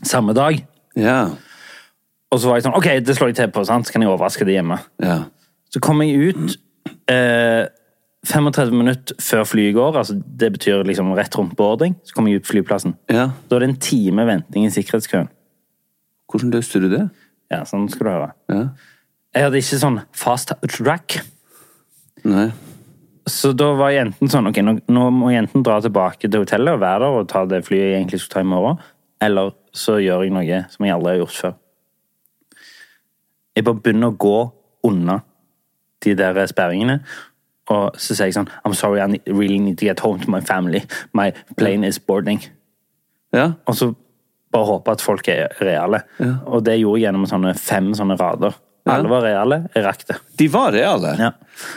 Speaker 2: samme dag. Og så var jeg sånn, ok, det slår jeg til på, sant? så kan jeg overraske det hjemme. Så kom jeg ut eh, 35 minutter før flyet går, altså det betyr liksom rett rundt boarding, så kom jeg ut på flyplassen.
Speaker 3: Ja.
Speaker 2: Da er det en time venting i sikkerhetskøen.
Speaker 3: Hvordan løste du det?
Speaker 2: Ja, sånn skal du høre.
Speaker 3: Ja.
Speaker 2: Jeg hadde ikke sånn fast track.
Speaker 3: Nei.
Speaker 2: Så da var jeg enten sånn, ok, nå, nå må jeg enten dra tilbake til hotellet og være der og ta det flyet jeg egentlig skulle ta i morgen, eller så gjør jeg noe som jeg aldri har gjort før. Jeg bare begynner å gå unna de der sperringene, og så sier jeg sånn, I'm sorry, I need- really need to get home to my family. My plane is boarding. Og så bare håpe at folk er reale. Og det gjorde jeg gjennom sånne fem sånne rader. Alle var reale, jeg rakk det.
Speaker 3: De var reale?
Speaker 2: Ja.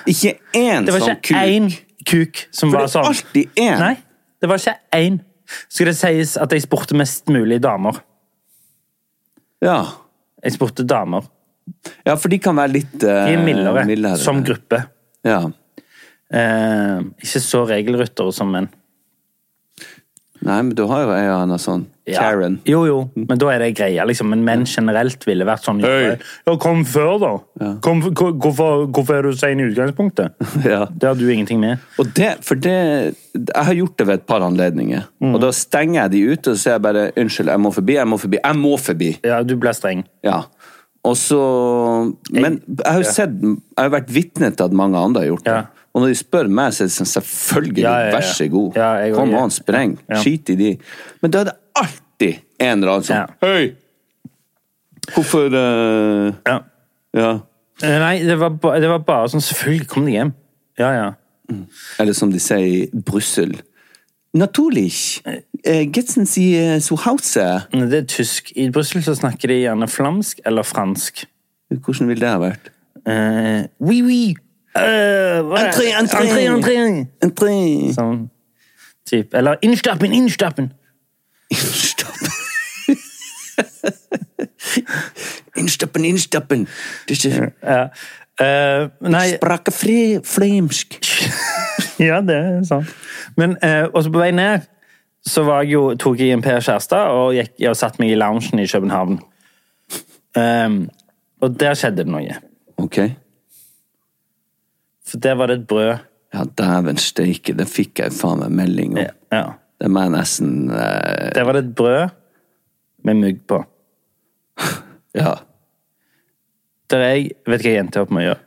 Speaker 3: Ikke én
Speaker 2: Det var
Speaker 3: sånn
Speaker 2: ikke én kuk som
Speaker 3: For
Speaker 2: var
Speaker 3: det er
Speaker 2: sånn.
Speaker 3: alltid én.
Speaker 2: Nei, det var ikke én. Skulle det sies at jeg spurte mest mulig damer.
Speaker 3: Ja.
Speaker 2: Jeg spurte damer.
Speaker 3: Ja, for de kan være litt
Speaker 2: De
Speaker 3: eh,
Speaker 2: er mildere,
Speaker 3: mildere.
Speaker 2: som gruppe.
Speaker 3: Ja.
Speaker 2: Eh, ikke så regelryttere som menn.
Speaker 3: Nei, men du har jo en og annen sånn
Speaker 2: Ja.
Speaker 3: Karen.
Speaker 2: Jo, jo, men da er det greia, liksom. Men menn generelt ville vært sånn Ja, kom før, da! Kom, hvor- hvorfor, hvorfor er du sein i utgangspunktet?
Speaker 3: Ja.
Speaker 2: Det har du ingenting med.
Speaker 3: Og det, for det, jeg har gjort det ved et par anledninger.
Speaker 2: Mm.
Speaker 3: Og da stenger jeg de ute, og så sier jeg bare 'unnskyld, jeg må forbi', 'jeg må forbi', 'jeg må forbi'.
Speaker 2: Ja, du ble streng.
Speaker 3: Ja. Og så Men jeg har jo sett, jeg har vært vitne til at mange andre har gjort det. Og når de spør meg, så er det sånn selvfølgelig,
Speaker 2: Ja, ja, ja.
Speaker 3: vær så god.
Speaker 2: Ja, jeg
Speaker 3: Kom
Speaker 2: også,
Speaker 3: an, spreng.
Speaker 2: Ja.
Speaker 3: Skit i de. Men da er det alltid en eller annen som Hei! Hvorfor eh,
Speaker 2: Ja. Eh, Nei, det var, ba, det var bare sånn Selvfølgelig kom de hjem. Ja, ja.
Speaker 3: Eller som de sier i Brussel Naturlig. Eh, Getzen sier so hause.
Speaker 2: Nei, Det er tysk. I Brussel så snakker de gjerne flamsk eller fransk.
Speaker 3: Hvordan ville det ha vært?
Speaker 2: Eh, oui, oui! Eh, hva er
Speaker 8: Entré,
Speaker 2: det?
Speaker 8: entré.
Speaker 2: entré, entré. Sånn typ. Eller innstappen, innstappen!
Speaker 3: Innstappen, innstappen! Det er ikke
Speaker 2: Ja. Eh, nei
Speaker 3: Sprakke fri, flamsk.
Speaker 2: ja, det er sant. Men eh, også på vei ned så var jeg jo, tok jeg en Per Kjærstad og, gikk, og satte meg i loungen i København. Ehm, og der skjedde det noe.
Speaker 3: Ok.
Speaker 2: For der var det et brød.
Speaker 3: Ja, dæven steike, det fikk jeg faen meg melding om.
Speaker 2: Ja.
Speaker 3: Det må jeg nesten eh,
Speaker 2: Der var det et brød med mugg på.
Speaker 3: Ja.
Speaker 2: Der jeg vet ikke hva jeg endte opp med å gjøre.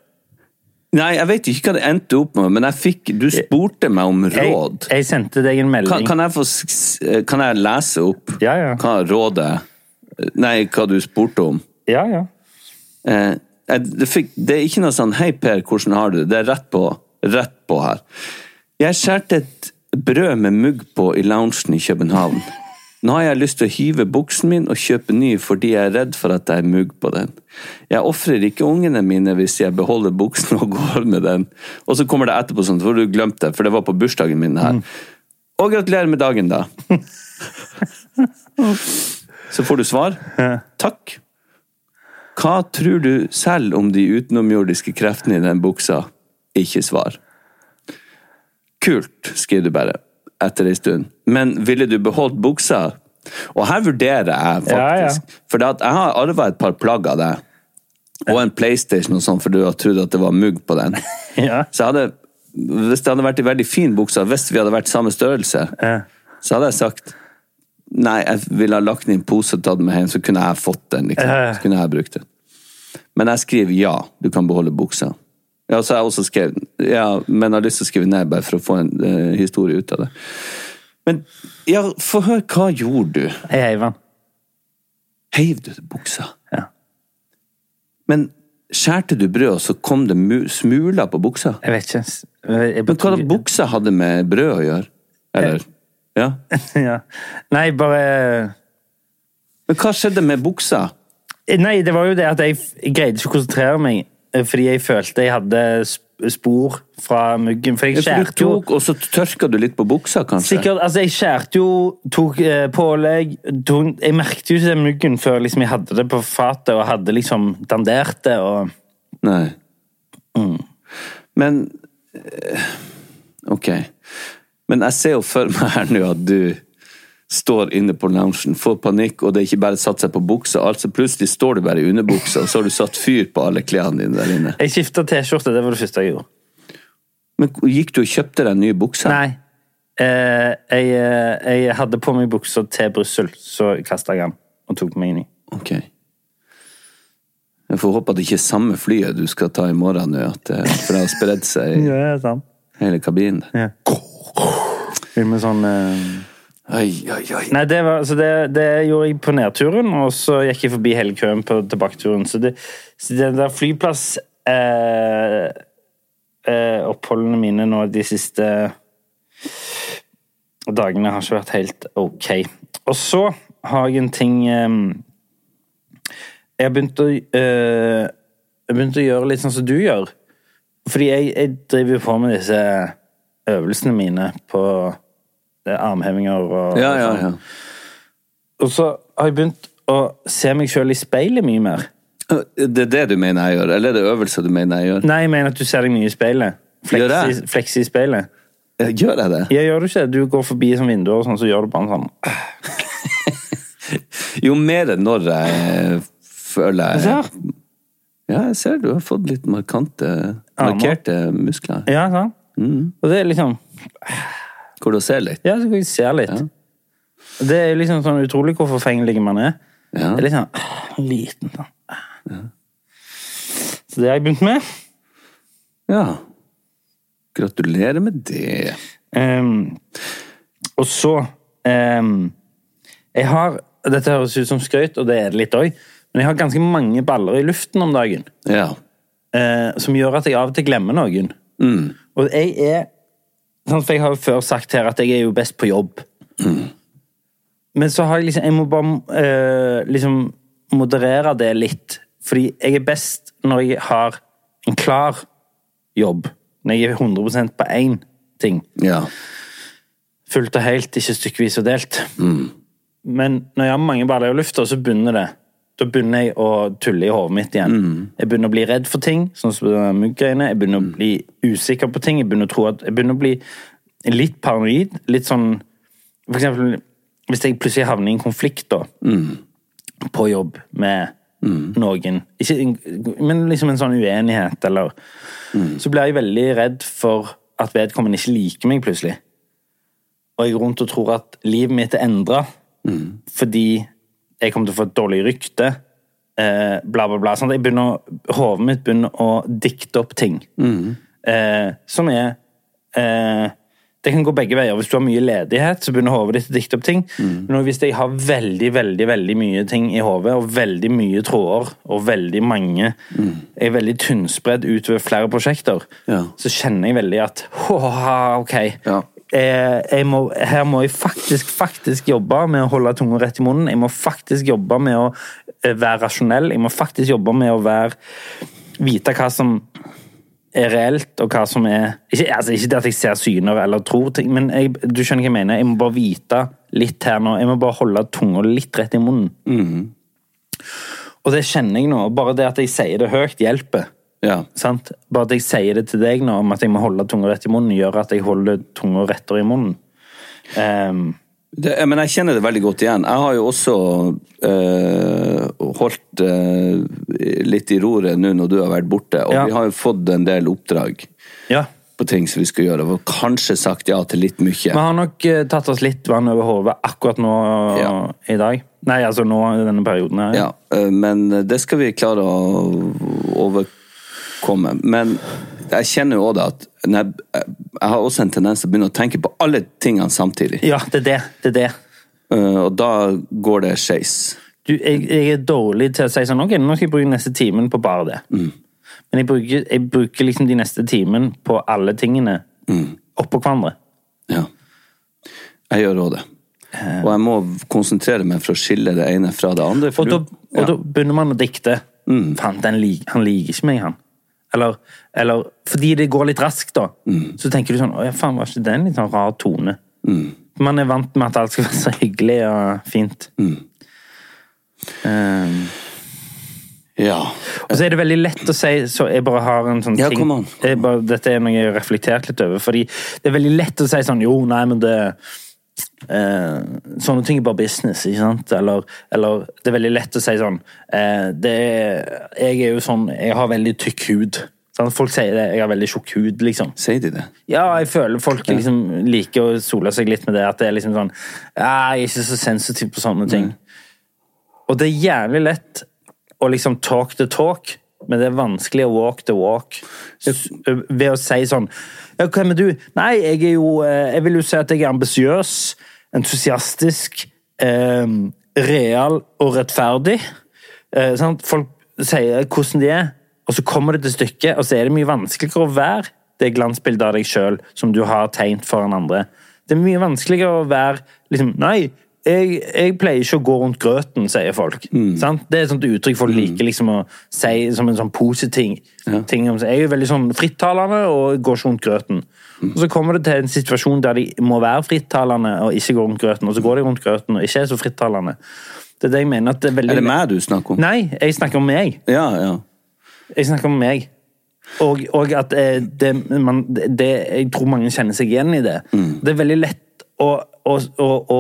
Speaker 3: Nei, jeg vet ikke hva det endte opp med, men jeg fikk Du spurte meg om råd.
Speaker 2: Jeg, jeg sendte deg en melding.
Speaker 3: eh, Kan, kan, jeg få, s- s- kan jeg lese opp
Speaker 2: ja, ja.
Speaker 3: hva rådet Nei, hva du spurte om.
Speaker 2: Ja, ja.
Speaker 3: Eh, jeg- det, fikk, det er ikke noe sånn 'Hei, Per, hvordan har du det?' Det er rett på, rett på her. Jeg skjærte et brød med mugg på i loungen i København. Nå har jeg lyst til å hive buksen min og kjøpe ny fordi jeg er redd for at det er mugg på den. Jeg ofrer ikke ungene mine hvis jeg beholder buksen og går med den. Og så kommer det etterpå sånn, for du glemte det, for det var på bursdagen min her. Og gratulerer med dagen, da. Så får du svar. Takk. Hva tror du selv om de utenomjordiske kreftene i den buksa? Ikke svar. Kult, skriver du bare etter ei stund. Men ville du beholdt buksa? Og her vurderer jeg faktisk.
Speaker 2: Ja, ja.
Speaker 3: For at jeg har arva et par plagg av deg. Og en PlayStation og sånn, for du har trodd at det var mugg på den. Så jeg hadde, hvis det hadde vært en veldig fin buksa, hvis vi hadde vært samme størrelse, så hadde jeg sagt Nei, jeg ville ha lagt den i en pose og tatt den med hjem, så kunne jeg fått den. Liksom. Så kunne jeg brukt den. Men jeg skriver ja, du kan beholde buksa. Ja, så har jeg også skrevet ja, men har lyst til å skrive ned bare for å få en eh, historie ut av det. Men ja, få høre, hva gjorde du?
Speaker 2: Jeg heiv den.
Speaker 3: Heiv du buksa? Ja. Men skjærte du brød, og så kom det mu- smuler på buksa?
Speaker 2: Jeg vet ikke. Jeg
Speaker 3: Men hva da buksa hadde med brød å gjøre? Eller? Ja.
Speaker 2: ja. Nei, bare
Speaker 3: Men hva skjedde med buksa?
Speaker 2: eh, Nei, det var jo det at jeg, f- jeg greide ikke å konsentrere meg, eh, fordi jeg følte jeg hadde sp- spor fra muggen. For jeg
Speaker 3: Ja, for du
Speaker 2: skjærte jo
Speaker 3: tok, og så tørka du litt på buksa, kanskje?
Speaker 2: Sikkert, altså Jeg skjærte jo, tok eh, pålegg tok, Jeg merket jo ikke den muggen før liksom, jeg hadde det på fatet og hadde liksom dandert det. og...
Speaker 3: Nei. Mm. Men eh, Ok. Men jeg ser jo for meg her nå at du står inne på loungen, får panikk, og det er ikke bare satt seg på buksa, altså plutselig står du bare i underbuksa, og så har du satt fyr på alle klærne dine der inne.
Speaker 2: Jeg skifta T-skjorte, det var det første jeg gjorde.
Speaker 3: Men gikk du og kjøpte deg en ny bukse?
Speaker 2: Nei. Eh, jeg, eh, jeg hadde på meg buksa til Brussel, så kasta jeg den og tok meg en ny.
Speaker 3: Ok. Jeg får håpe at det ikke er samme flyet du skal ta i morgen nå, at det, for det har spredd seg i
Speaker 2: Ja, sant.
Speaker 3: hele kabinen.
Speaker 2: Med sånn eh,
Speaker 3: Oi, oi, oi.
Speaker 2: Nei, det, var, så det, det gjorde jeg på nedturen, og så gikk jeg forbi hele køen på tilbaketuren. Så, det, så den der flyplass eh, eh, Oppholdene mine nå de siste dagene har ikke vært helt ok. Og så har jeg en ting eh, Jeg har begynt å eh, Jeg har begynt å gjøre litt sånn som du gjør. Fordi jeg, jeg driver jo på med disse øvelsene mine på eh, armhevinger og
Speaker 3: Ja, ja, ja.
Speaker 2: og så har jeg begynt å se meg sjøl i speilet mye mer.
Speaker 3: Eh, Det er det du mener jeg gjør, eller er det øvelser du mener jeg gjør?
Speaker 2: Nei, jeg mener at du ser deg mye i speilet.
Speaker 3: Gjør
Speaker 2: Flekse,
Speaker 3: jeg?
Speaker 2: flekse i speilet.
Speaker 3: Gjør jeg det?
Speaker 2: Ja, gjør du ikke det? Du går forbi som vinduer, og sånn, så gjør du bare en sånn.
Speaker 3: Jo mer enn når jeg føler jeg Ja, jeg ser du har fått litt markante,
Speaker 2: Armer.
Speaker 3: markerte muskler.
Speaker 2: Ja, sant?
Speaker 3: Mm.
Speaker 2: Og det er liksom
Speaker 3: Hvor du ser litt.
Speaker 2: Ja, så kan jeg se litt. Det er liksom sånn utrolig hvor forfengelig man er.
Speaker 3: Ja.
Speaker 2: Det er litt sånn ah, liten sånn. ah. Så det har jeg begynt med.
Speaker 3: Ja. Gratulerer med det.
Speaker 2: Ehm, og så ehm, Jeg har Dette høres ut som skrøyt, og det er det litt òg, men jeg har ganske mange baller i luften om dagen.
Speaker 3: Ja.
Speaker 2: eh, som gjør at jeg av og til glemmer noen. Og jeg er sånn, For jeg har jo før sagt her at jeg er jo best på jobb. Men så har jeg liksom Jeg må bare eh, liksom moderere det litt. Fordi jeg er best når jeg har en klar jobb. Når jeg er 100 på én ting.
Speaker 3: Ja.
Speaker 2: Fullt og helt, ikke stykkevis og delt. Men når jeg har mange baller i lufta, så begynner det. Da begynner jeg å tulle i hodet mitt igjen. Jeg begynner å bli redd for ting, sånn som denne mugggreiene. Jeg begynner å bli usikker på ting. Jeg begynner å tro at Jeg begynner å bli litt paranoid. Litt sånn For eksempel hvis jeg plutselig havner i en konflikt, da. På jobb med noen. Ikke, en- men liksom en sånn uenighet, eller Så blir jeg veldig redd for at vedkommende ikke liker meg plutselig og jeg går rundt og tror at livet mitt er endra
Speaker 3: Mm.
Speaker 2: fordi jeg kommer til å få et dårlig rykte, eh, bla, bla, bla. Sånn at jeg begynner å- Hodet mitt
Speaker 3: Mm.
Speaker 2: begynner å dikte opp ting eh, som er eh, det kan gå begge veier. Hvis du har mye ledighet, så begynner hodet ditt å dikte opp ting.
Speaker 3: Mm.
Speaker 2: Men også hvis jeg har veldig veldig, veldig mye ting i hodet, og veldig mye tråder, og veldig mange er veldig tynnspredd utover flere prosjekter,
Speaker 3: Mm. Ja.
Speaker 2: så kjenner jeg veldig at «Haha, OK. Eh, Jeg må, her må jeg faktisk faktisk jobbe med å holde tunga rett i munnen. Jeg må faktisk jobbe med å eh, være rasjonell. Jeg må faktisk jobbe med å være vite hva som er reelt, og hva som er Ikke, altså, ikke det at jeg ser syner eller tror ting, men jeg, du skjønner hva jeg mener. Jeg må bare vite litt her nå. Jeg må bare holde tunga litt rett i munnen. Og det kjenner jeg nå. Bare det at jeg sier det høyt, hjelper. Sant? Bare at jeg sier det til deg nå, om at jeg må holde tunga rett i munnen, gjør at jeg holder tunga rettere i munnen. Ehm,
Speaker 3: Det, men jeg kjenner det veldig godt igjen. Jeg har jo også eh, holdt eh, litt i roret nå når du har vært borte, og
Speaker 2: Ja.
Speaker 3: vi har jo fått en del oppdrag
Speaker 2: Ja.
Speaker 3: på ting som vi skal gjøre, og kanskje sagt ja til litt
Speaker 2: Vi
Speaker 3: mye.
Speaker 2: har nok eh, tatt oss litt vann over hodet akkurat nå i dag. Nei, altså nå i denne perioden her.
Speaker 3: Ja, eh, men det skal vi klare å overkomme. Men jeg kjenner jo òg det at når jeg, eh, jeg har også en tendens til å begynne å tenke på alle tingene samtidig,
Speaker 2: Ja, det er det. det, er det.
Speaker 3: Eh, og da går det skeis.
Speaker 2: Du, jeg, jeg er dårlig til å si sånn Ok, nå skal jeg bruke neste timen på bare det.
Speaker 3: Mm.
Speaker 2: Men jeg bruker, jeg bruker liksom de neste timen på alle tingene
Speaker 3: Mm.
Speaker 2: oppå hverandre.
Speaker 3: Jeg gjør òg det. Og jeg må konsentrere meg for å skille det ene fra det andre. For
Speaker 2: Og da, og da begynner man å dikte. Faen, den lik, han liker ikke meg, han. Eller, eller fordi det går litt raskt, da. Så tenker du sånn Å ja, faen, var ikke det en litt sånn rar tone? Man er vant med at alt skal være så hyggelig og fint. Ehm,
Speaker 3: Ja.
Speaker 2: Og så er det veldig lett å si så jeg bare har en sånn
Speaker 3: Ja,
Speaker 2: ting
Speaker 3: kom an,
Speaker 2: Jeg bare, Dette er noe jeg har reflektert litt over. Fordi det er veldig lett å si sånn Jo, nei, men det eh, Sånne ting er bare business, ikke sant? Eller, eller det er veldig lett å si sånn eh, det er, Jeg er jo sånn Jeg har veldig tykk hud. Sant? Folk sier det. Jeg har veldig tjukk hud, liksom.
Speaker 3: Sier de det?
Speaker 2: Ja, jeg føler folk liksom liker å sole seg litt med det. At det er liksom sånn «Ja, Jeg er ikke så sensitiv på sånne ting. Og det er jævlig lett å liksom talk the talk, men det er vanskelig å walk the walk. S- Ved å si sånn ja, Hvem er du? Nei, jeg er jo eh, Jeg vil jo si at jeg er ambisiøs, entusiastisk, eh, real og rettferdig. Eh, sant? Folk sier hvordan de er, og så kommer det til stykket, og så er det mye vanskeligere å være det glansbildet av deg sjøl som du har tegnet foran andre. Det er mye vanskeligere å være liksom Nei, jeg, jeg pleier ikke å gå rundt grøten, sier folk.
Speaker 3: Mm.
Speaker 2: Sant? Det er et sånt uttrykk folk liker liksom, å si som en sånn positiv ting. om seg. Jeg er jo veldig sånn frittalende og går ikke rundt grøten.
Speaker 3: Mm.
Speaker 2: Og Så kommer det til en situasjon der de må være frittalende og ikke gå rundt grøten, og så går de rundt grøten og ikke er så frittalende. Det er det jeg mener at det er veldig...
Speaker 3: Er det meg du snakker om?
Speaker 2: Nei, jeg snakker om meg.
Speaker 3: Ja, ja.
Speaker 2: Jeg snakker om meg. Og, og at eh, det, man, det Jeg tror mange kjenner seg igjen i det. Det er veldig lett å, å, å, å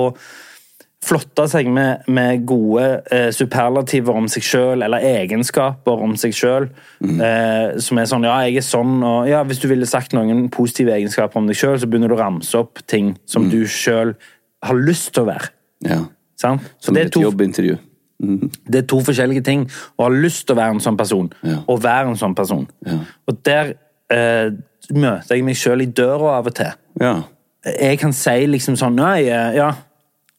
Speaker 2: flotte seg med, med gode eh, superlativer om seg sjøl, eller egenskaper om seg sjøl, eh, som er sånn Ja, jeg er sånn, og ja, hvis du ville sagt noen positive egenskaper om deg sjøl, så begynner du å ramse opp ting som du sjøl har lyst til å være.
Speaker 3: ja.
Speaker 2: Sant?
Speaker 3: Som
Speaker 2: Det er
Speaker 3: et
Speaker 2: to-
Speaker 3: jobbintervju. Mhm.
Speaker 2: det er to forskjellige ting. Å ha lyst til å være en sånn person, og være en sånn person. Og der eh, møter jeg meg sjøl i døra av og til.
Speaker 3: Ja.
Speaker 2: Jeg kan si liksom sånn Nei, eh, ja.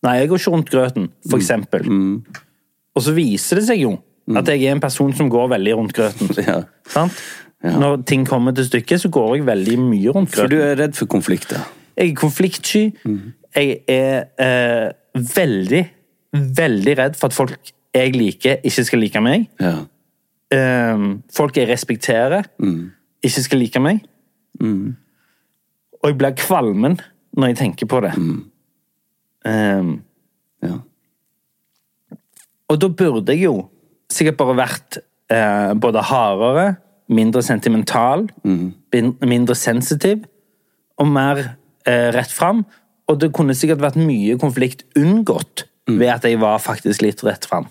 Speaker 2: Nei jeg går ikke rundt grøten,
Speaker 3: Mm.
Speaker 2: for eksempel. Og så viser det seg jo at jeg er en person som går veldig rundt grøten.
Speaker 3: Ja.
Speaker 2: Sant? Når ting kommer til stykket, så går jeg veldig mye rundt grøten.
Speaker 3: For du Mm. er redd for konflikter.
Speaker 2: Jeg er konfliktsky. Jeg er eh, veldig, veldig redd for at folk jeg liker, ikke skal like meg.
Speaker 3: Ja.
Speaker 2: Eh, folk jeg respekterer, ikke skal like meg. Og jeg blir kvalmen når jeg tenker på det. Eh,
Speaker 3: Ja.
Speaker 2: Og da burde jeg jo sikkert bare vært eh, både hardere, mindre sentimental,
Speaker 3: Mm.
Speaker 2: bin- mindre sensitiv og mer eh, rett fram. Og det kunne sikkert vært mye konflikt unngått
Speaker 3: Mm.
Speaker 2: ved at jeg var faktisk litt rett fram.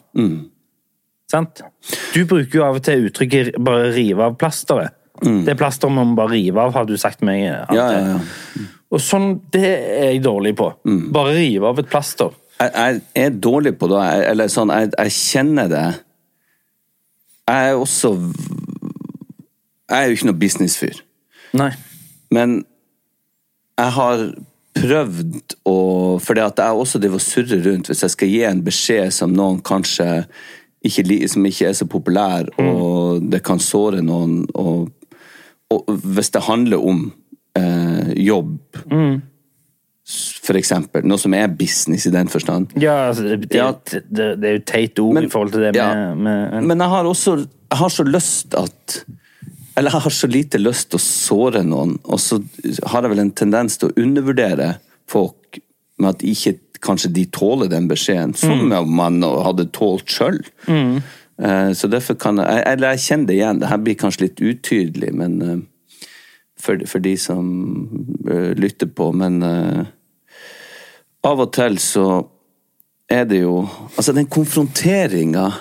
Speaker 2: Sant? Du bruker jo av og til uttrykket 'bare rive av plasteret'. Det plasteret må man bare rive av, har du sagt meg. av og
Speaker 3: Mm. Ja,
Speaker 2: til.
Speaker 3: ja, Mm. ja.
Speaker 2: Og sånn, det er jeg dårlig på. Bare rive av et plaster.
Speaker 3: Jeg, jeg er dårlig på det, jeg- eller sånn, jeg, jeg kjenner det. Jeg er også Jeg er jo ikke noe businessfyr.
Speaker 2: Nei.
Speaker 3: Men jeg har prøvd å For det at jeg også driver og surrer rundt hvis jeg skal gi en beskjed som noen kanskje ikke, li- som ikke er så populær, og det kan såre noen, og, og hvis det handler om eh, jobb, for eksempel, noe som er business i den forstand,
Speaker 2: Ja, altså, det, det, det, det er jo teit ord i forhold til det med, med en,
Speaker 3: Men jeg har også jeg har så lyst at Eller jeg har så lite lyst til å såre noen, og så har jeg vel en tendens til å undervurdere folk med at ikke kanskje de tåler den beskjeden, som
Speaker 2: Mm.
Speaker 3: om man hadde tålt sjøl.
Speaker 2: Mm.
Speaker 3: Så derfor kan jeg jeg- Eller jeg kjenner det igjen, det her blir kanskje litt utydelig, men eh, for, for de som eh, lytter på, men eh, av og til så er det jo Altså, den konfronteringa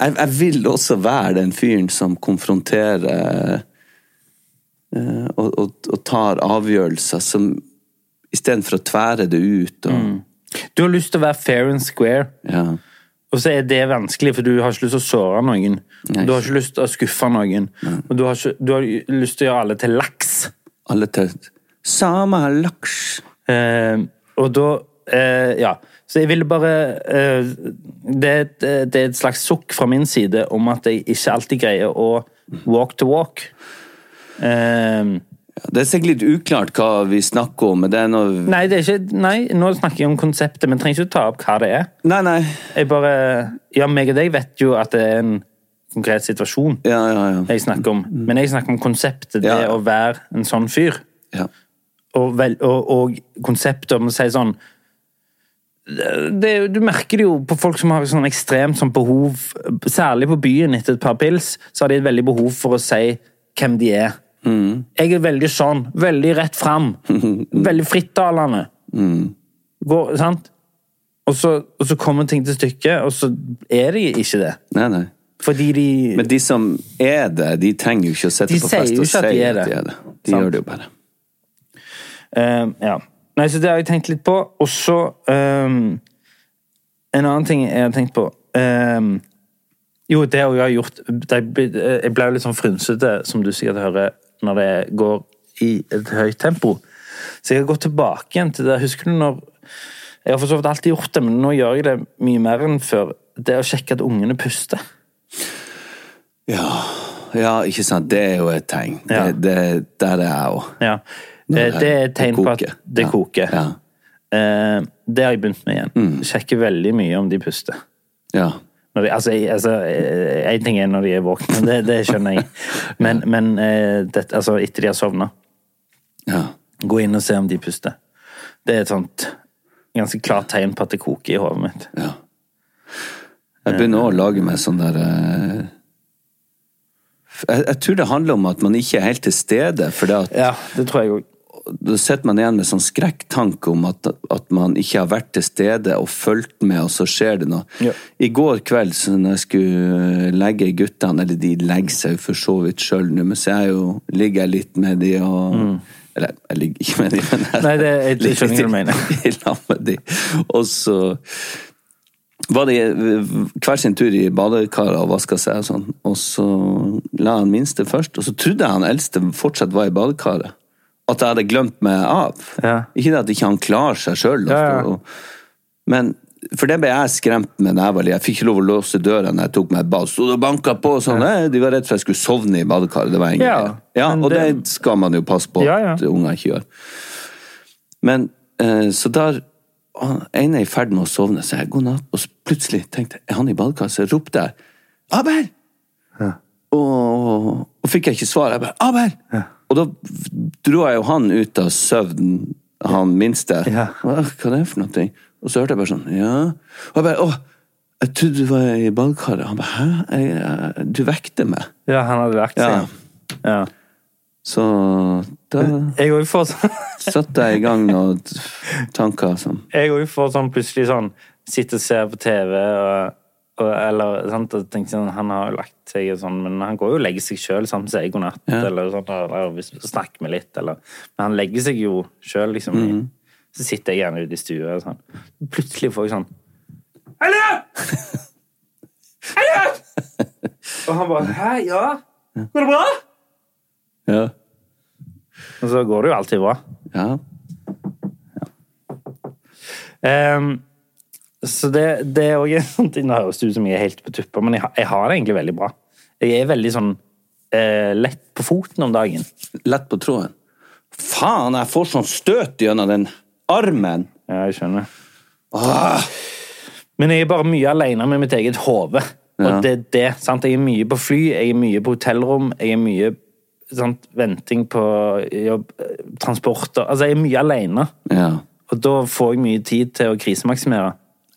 Speaker 3: jeg, jeg vil også være den fyren som konfronterer eh, og, og, og tar avgjørelser som Istedenfor å tvære det ut og
Speaker 2: Mm. Du har lyst til å være fair and square. Og så er det vanskelig, for du har ikke lyst til å såre noen. Du har ikke lyst til å skuffe noen. Og du har, ikke, du har lyst til å gjøre alle til laks.
Speaker 3: Alle til Samme laks.
Speaker 2: Eh, og da eh, Ja. Så jeg ville bare eh, det, er et- det er et slags sukk fra min side om at jeg ikke alltid greier å walk to walk. Eh,
Speaker 3: Ja, Det er sikkert litt uklart hva vi snakker om, men det er noe
Speaker 2: Nei, det er ikke, nei, nå snakker jeg om konseptet, men trenger ikke å ta opp hva det er.
Speaker 3: Nei, nei.
Speaker 2: Jeg bare, ja, meg og deg vet jo at det er en konkret situasjon jeg snakker om. Men jeg snakker om konseptet, det å være en sånn fyr. Og, vel, og, og konseptet om å si sånn det, Du merker det jo på folk som har sånn ekstremt sånn behov, særlig på byen etter et par pils, så har de et veldig behov for å si hvem de er. Jeg er veldig sånn. Veldig rett fram. Veldig frittalende. Går, sant? Og så, og så kommer ting til stykket, og så er de ikke det.
Speaker 3: Nei, nei.
Speaker 2: Fordi de
Speaker 3: Men de som er det, de trenger jo ikke å sette
Speaker 2: De
Speaker 3: på
Speaker 2: sier
Speaker 3: fest
Speaker 2: jo
Speaker 3: og
Speaker 2: ikke at de
Speaker 3: si
Speaker 2: er
Speaker 3: at
Speaker 2: det.
Speaker 3: de er det. De
Speaker 2: Sant.
Speaker 3: gjør det jo bare.
Speaker 2: Eh, ja. Nei, så det har jeg tenkt litt på. Og så ehm, En annen ting jeg har tenkt på ehm, Jo, det jeg har gjort det jeg blir- eh, Jeg ble jo litt sånn frynsete, som du sikkert hører, når det går i et høyt tempo. Så jeg har gått tilbake igjen til det. Husker du når Jeg har for så vidt alltid gjort det, men nå gjør jeg det mye mer enn før. Det å sjekke at ungene puster.
Speaker 3: Ja, ja ikke sant. Det er jo et tegn.
Speaker 2: Ja.
Speaker 3: Det, det, der er jeg òg.
Speaker 2: Ja.
Speaker 3: Når
Speaker 2: Eh,
Speaker 3: det-
Speaker 2: Det er et tegn
Speaker 3: det
Speaker 2: på at
Speaker 3: koker.
Speaker 2: det
Speaker 3: Ja.
Speaker 2: koker. Eh, Det har jeg begynt med igjen. Sjekker veldig mye om de puster.
Speaker 3: Ja.
Speaker 2: Når de, altså, jeg, altså, eh, en ting er når de er våkne, det, det skjønner jeg. Men, men eh, det, altså, etter de har sovna, gå inn og se om de puster. Det er et sånt ganske klart tegn på at det koker i hodet mitt.
Speaker 3: Jeg begynner også å lage meg sånn der eh, jeg, jeg tror det handler om at man ikke er helt til stede, for det at
Speaker 2: Ja, det tror jeg òg.
Speaker 3: da sitter man igjen med sånn skrekktanke om at, at man ikke har vært til stede og fulgt med, og så skjer det noe.
Speaker 2: Ja.
Speaker 3: I går kveld, så når jeg skulle legge guttene, eller de legger seg jo for så vidt sjøl nå, men så er jeg jo, ligger jeg litt med de og Eller jeg ligger ikke med de, men jeg,
Speaker 2: Mm. Nei, det, jeg, jeg skjønner hva du mener.
Speaker 3: i lag med de. Og så var det eh, hver sin tur i badekaret og vaska seg og sånn. Og så la han minste først, og så trodde jeg han eldste fortsatt var i badekaret. At jeg hadde glemt meg av. Ikke det at ikke han klarer seg sjøl. Men for det ble jeg skremt med da jeg var liten. Jeg fikk ikke lov å låse døra når jeg tok meg et bad. Stod og banka på og sånn. Nei, De var redd for jeg skulle sovne i badekaret. Det var ingen
Speaker 2: Ja,
Speaker 3: greie. ja,
Speaker 2: men
Speaker 3: Og det...
Speaker 2: det-
Speaker 3: skal man jo passe på
Speaker 2: Ja, ja.
Speaker 3: at unger ikke gjør. Men eh, så der han ene er i ferd med å sovne, så jeg god natt, og så plutselig tenkte jeg, er han i badekaret? Så jeg ropte jeg, Abel! Og, og fikk jeg ikke svar, jeg bare, Abel! Og da dro jeg jo han ut av søvnen, han minste. Hva, hva er det for noe? Og så hørte jeg bare sånn, ja. Og jeg bare, åh, jeg trodde du var i badekaret. Han bare, hæ? Jeg, jeg, du vekte meg.
Speaker 2: Ja, han hadde lagt seg. Ja.
Speaker 3: Så da
Speaker 2: Jeg òg får sånn
Speaker 3: satte jeg i gang noen tanker som
Speaker 2: Jeg òg får sånn plutselig sånn Sitter og ser på TV og, og eller sant, og tenker sånn Han har jo lagt seg og sånn, men han går jo og legger seg sjøl sammen sier god natt,
Speaker 3: Ja.
Speaker 2: eller sånn, eller hvis snakker med litt, eller Men han legger seg jo sjøl, liksom. i-
Speaker 3: Mhm.
Speaker 2: Så sitter jeg gjerne ute i stua og sånn. Plutselig får jeg sånn Og han bare Hæ, ja? Går det bra?
Speaker 3: Ja.
Speaker 2: Og så går det jo alltid bra.
Speaker 3: Ja.
Speaker 2: Ehm, så det, det er òg en sånn ting Nå høres det ut som jeg er helt på tuppa, men jeg, har- jeg har det egentlig veldig bra. Jeg er veldig sånn eh, lett på foten om dagen.
Speaker 3: Lett på tråden? Faen, jeg får sånn støt gjennom den armen!
Speaker 2: Ja, jeg skjønner. Men jeg er bare mye alene med mitt eget hode. Og
Speaker 3: Ja.
Speaker 2: det er det. sant? Jeg er mye på fly, jeg er mye på hotellrom, jeg er mye sant? venting på jobb, transporter Altså, jeg er mye alene.
Speaker 3: Ja.
Speaker 2: Og da får jeg mye tid til å krisemaksimere.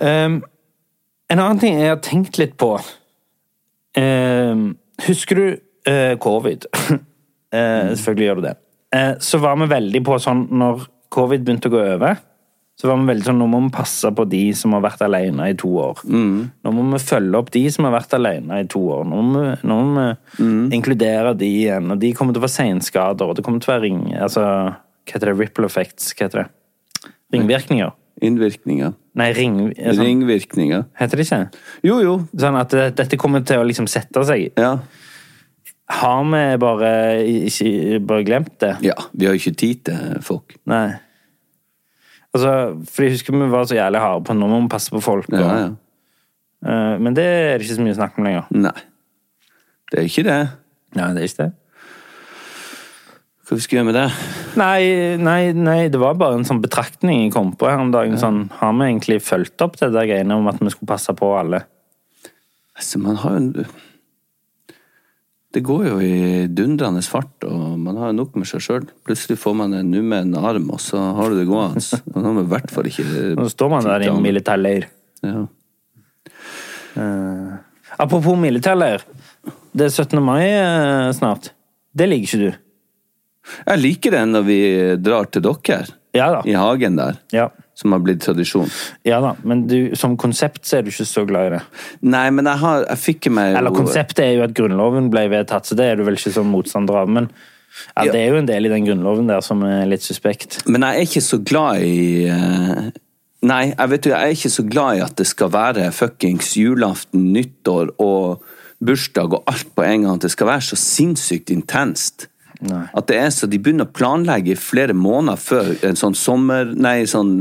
Speaker 2: Ehm, en annen ting jeg har tenkt litt på Ehm, Husker du eh, covid? Eh, selvfølgelig gjør du det. Eh, så var vi veldig på sånn Når covid begynte å gå over, så var vi veldig sånn Nå må vi passe på de som har vært alene i to år. Nå må vi følge opp de som har vært alene i to år. Nå må vi, nå må vi inkludere de igjen. Og de kommer til å få seinskader, og det kommer til å være ring... Altså, hva heter det? Ripple effects? Hva heter det? Ringvirkninger?
Speaker 3: Innvirkninger.
Speaker 2: Nei, ring... Sånn,
Speaker 3: Ringvirkninger.
Speaker 2: Heter det ikke?
Speaker 3: Jo, jo.
Speaker 2: Sånn at det- dette kommer til å liksom sette seg. Har vi bare, ikke, bare glemt det?
Speaker 3: Ja, vi har jo ikke tid til folk.
Speaker 2: Nei. Altså, for jeg husker vi var så jævlig harde på nå må vi passe på folk. Og,
Speaker 3: Ja, ja.
Speaker 2: Eh, men det er det ikke så mye snakk om lenger.
Speaker 3: Nei. Det er ikke det.
Speaker 2: Nei, det er ikke det.
Speaker 3: Hva vi skal gjøre med det?
Speaker 2: Nei, nei, nei, det var bare en sånn betraktning jeg kom på her om dagen. Sånn, har vi egentlig fulgt opp det der greiene om at vi skulle passe på alle?
Speaker 3: Altså, man har jo en Det går jo i dundrende fart, og man har jo nok med seg sjøl. Plutselig får man en nummen arm, og så har du det gående. Og Nå har man i hvert fall ikke
Speaker 2: Nå står man der i en militærleir.
Speaker 3: Ja.
Speaker 2: Eh, apropos militærleir. Det er 17. mai eh, snart. Det liker ikke du.
Speaker 3: Jeg liker det når vi drar til dere. I hagen der.
Speaker 2: Ja.
Speaker 3: Som har blitt tradisjon.
Speaker 2: Ja da, men du, som konsept så er du ikke så glad i det.
Speaker 3: Nei, men jeg, har, jeg fikk i meg jo-
Speaker 2: Eller konseptet er jo at grunnloven ble vedtatt, så det er du vel ikke som motstander av, men ja, det er jo en del i den grunnloven der som er litt suspekt.
Speaker 3: Men jeg er ikke så glad i eh, Nei, jeg vet jo, jeg er ikke så glad i at det skal være fuckings julaften, nyttår og bursdag og alt på en gang. At det skal være så sinnssykt intenst.
Speaker 2: Nei.
Speaker 3: At det er så De begynner å planlegge i flere måneder før en sånn sommer... Nei, sånn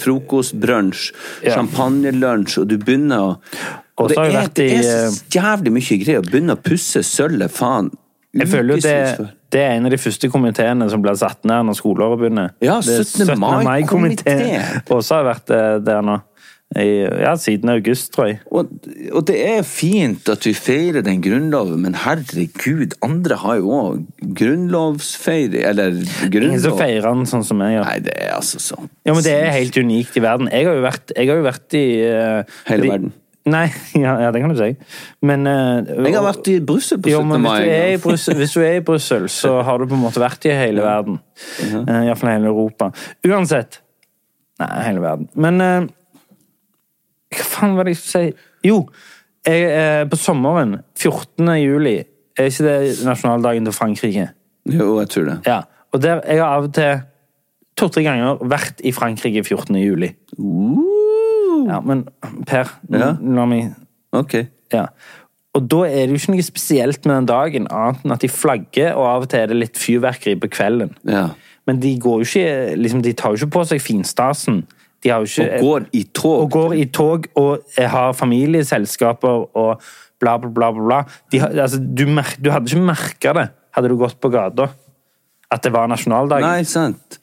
Speaker 3: frokostbrunsj,
Speaker 2: Ja.
Speaker 3: champagnelunsj, og du begynner å
Speaker 2: Og så
Speaker 3: det,
Speaker 2: har jeg
Speaker 3: er,
Speaker 2: vært
Speaker 3: det
Speaker 2: i,
Speaker 3: er så jævlig mye greier. Å begynne å pusse sølvet, faen.
Speaker 2: Jeg føler jo
Speaker 3: ukevis
Speaker 2: det,
Speaker 3: før.
Speaker 2: det er en av de første komiteene som ble satt ned når skoleåret begynner.
Speaker 3: Ja,
Speaker 2: Det er
Speaker 3: 17. mai-komiteen.
Speaker 2: Og så har jeg vært eh, der nå. I, ja, siden august, tror jeg.
Speaker 3: Og, og det er fint at vi feirer den grunnloven, men herregud, andre har jo òg grunnlovsfeiring Eller grunnlov
Speaker 2: Ingen som feirer den sånn som jeg gjør.
Speaker 3: Nei, det er altså sånn.
Speaker 2: Ja, men det er helt unikt i verden. Jeg har jo vært, jeg har jo vært i eh,
Speaker 3: Hele
Speaker 2: fordi-
Speaker 3: verden.
Speaker 2: Nei, ja, ja, det kan du si. Men eh,
Speaker 3: Jeg har vært i Brussel på
Speaker 2: Jo,
Speaker 3: 17.
Speaker 2: men hvis
Speaker 3: mai
Speaker 2: du er
Speaker 3: en
Speaker 2: i
Speaker 3: gang.
Speaker 2: Brussel- Hvis du er i Brussel, så har du på en måte vært i hele verden. Eh, Iallfall hele Europa. Uansett. Nei, hele verden. Men eh, Hva faen var det jeg skulle si? Jo, jeg, eh, på sommeren, 14. juli, er ikke det nasjonaldagen til Frankrike?
Speaker 3: Jo, jeg tror det.
Speaker 2: Ja, og der jeg har av og til to-tre ganger vært i Frankrike 14. juli. Ja, men Per, n-
Speaker 3: Ja.
Speaker 2: la meg
Speaker 3: Ok.
Speaker 2: Ja. Og da er det jo ikke noe spesielt med den dagen, annet enn at de flagger, og av og til er det litt fyrverkeri på kvelden.
Speaker 3: Ja.
Speaker 2: Men de går jo ikke liksom, De tar jo ikke på seg finstasen. De har jo ikke,
Speaker 3: Og går i tog.
Speaker 2: Eh, Og går i tog og eh, har familieselskaper og bla, bla, bla. bla, bla. De, har- altså, du, mer, du hadde ikke merka det hadde du gått på gata. At det var nasjonaldagen.
Speaker 3: Nei, sant.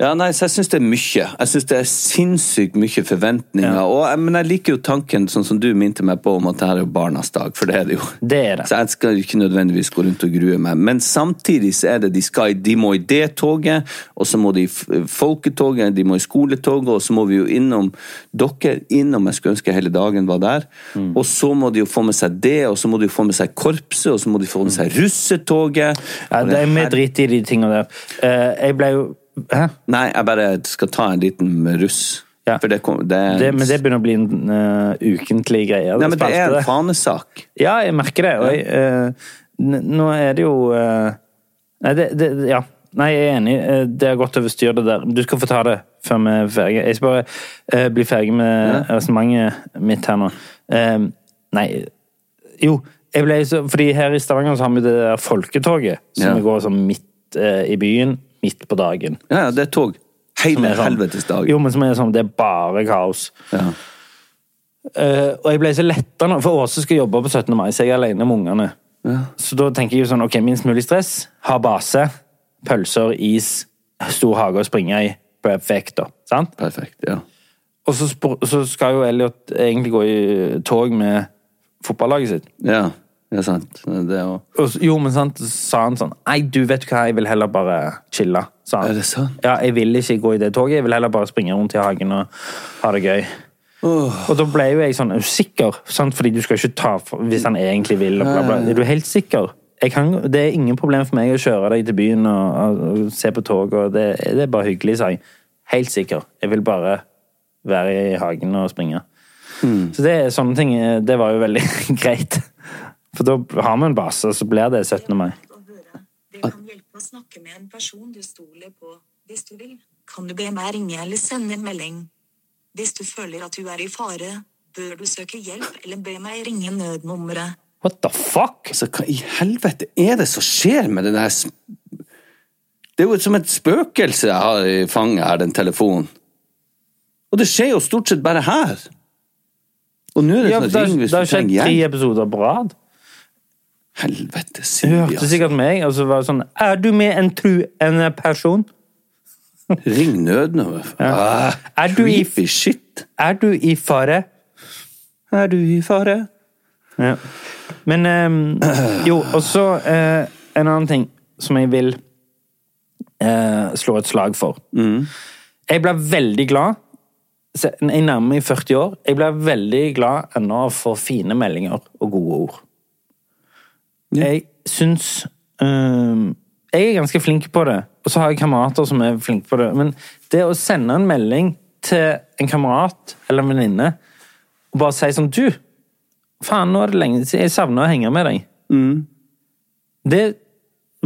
Speaker 3: Ja, nei, så jeg syns det er mye. Jeg syns det er sinnssykt mye forventninger. Og, eh, men jeg liker jo tanken, sånn som du minte meg på, om at det her er jo barnas dag, for det er det jo.
Speaker 2: Det er det.
Speaker 3: Så jeg skal jo ikke nødvendigvis gå rundt og grue meg. Men samtidig så er det de skal i- De må i det toget, og så må de i f- folketoget, de må i skoletoget, og så må vi jo innom dere, innom jeg skulle ønske hele dagen var der.
Speaker 2: Mm.
Speaker 3: Og så må de jo få med seg det, og så må de jo få med seg korpset, og så må de få med seg russetoget.
Speaker 2: Mm. Ja, det er mer dritt i de tingene der. Eh, jeg ble jo Hæ?
Speaker 3: Nei, jeg bare skal ta en liten med russ. For det, kom, det er
Speaker 2: Det, men det begynner å bli en eh, ukentlig greie.
Speaker 3: Nei, men det er en
Speaker 2: spalte.
Speaker 3: fanesak.
Speaker 2: Ja, jeg merker det. Og jeg, eh, n- nå er det jo eh, Nei, det, det Ja. Nei, jeg er enig. Eh, Det har gått over styr, det der. Du skal få ta det før vi er ferdige. Jeg skal bare eh, bli ferdig med resonnementet mitt her nå. Eh, nei Jo, jeg ble så Fordi her i Stavanger så har vi det der folketoget som
Speaker 3: Ja.
Speaker 2: går sånn midt eh, i byen, midt på dagen.
Speaker 3: Ja, ja, det er tog.
Speaker 2: Som
Speaker 3: Hele
Speaker 2: er sånn-
Speaker 3: helvetes dag.
Speaker 2: Jo, men som er sånn, det er bare kaos.
Speaker 3: Ja.
Speaker 2: Eh, og jeg ble så letta nå, for Åse skal jobbe på 17. mai, så jeg er alene med ungene. Så da tenker jeg jo sånn, ok, minst mulig stress, ha base, pølser, is, stor hage å springe i, perfekt da, sant?
Speaker 3: Perfekt, ja.
Speaker 2: Og så, spor- så skal jo Elliot egentlig gå i tog med fotballaget sitt.
Speaker 3: Ja, det er sant. Det er jo
Speaker 2: Og, så- jo, men sant, så sa han sånn Nei, du vet hva, jeg vil heller bare chille. Sa han.
Speaker 3: Er det sant?
Speaker 2: Ja, jeg vil ikke gå i det toget, jeg vil heller bare springe rundt i hagen og ha det gøy. Og da ble jo jeg sånn usikker, sant? fordi du skal ikke ta for- hvis han egentlig vil. Og bla, bla. Er du helt sikker? Jeg kan, det er ingen problem for meg å kjøre deg til byen og, og, og se på toget, og det, det er bare hyggelig, sa jeg. Helt sikker. Jeg vil bare være i hagen og springe.
Speaker 3: Mm.
Speaker 2: Så det, er sånne ting, eh, det var jo veldig greit. For da har vi en base, og så blir det 17. mai.
Speaker 9: Det kan hjelpe å snakke med en person du stoler på. Hvis du vil, kan du be meg ringe eller sende en melding. Hvis du føler at du er i fare, bør du søke hjelp eller be meg ringe nødnummeret.
Speaker 2: What the fuck?
Speaker 3: Altså, hva i helvete er det som skjer med det der s- Det er jo som et spøkelse jeg har i fanget her, den telefonen. Og det skjer jo stort sett bare her. Og nå er det
Speaker 2: Ja,
Speaker 3: sånn
Speaker 2: det har-
Speaker 3: ring hvis
Speaker 2: det har
Speaker 3: du
Speaker 2: skjedd
Speaker 3: trenger
Speaker 2: tre
Speaker 3: hjelp.
Speaker 2: episoder på rad.
Speaker 3: Helvete,
Speaker 2: Hun
Speaker 3: Silje.
Speaker 2: hørte sikkert meg, og så var det sånn Er du med en tru... en person?
Speaker 3: Ring nødnummeret. Ah,
Speaker 2: Er du i-
Speaker 3: creepy shit.
Speaker 2: Er du i fare?
Speaker 3: Er du i fare?
Speaker 2: Ja. Men eh, Jo, og så eh, en annen ting som jeg vil eh, slå et slag for. Jeg ble veldig glad Se, Jeg nærmer meg 40 år. Jeg ble veldig glad ennå for fine meldinger og gode ord. Jeg syns eh, Jeg er ganske flink på det, og så har jeg kamerater som er flinke på det. Men det å sende en melding til en kamerat eller en venninne og bare si sånn Du, faen, nå er det lenge siden jeg savner å henge med deg. Det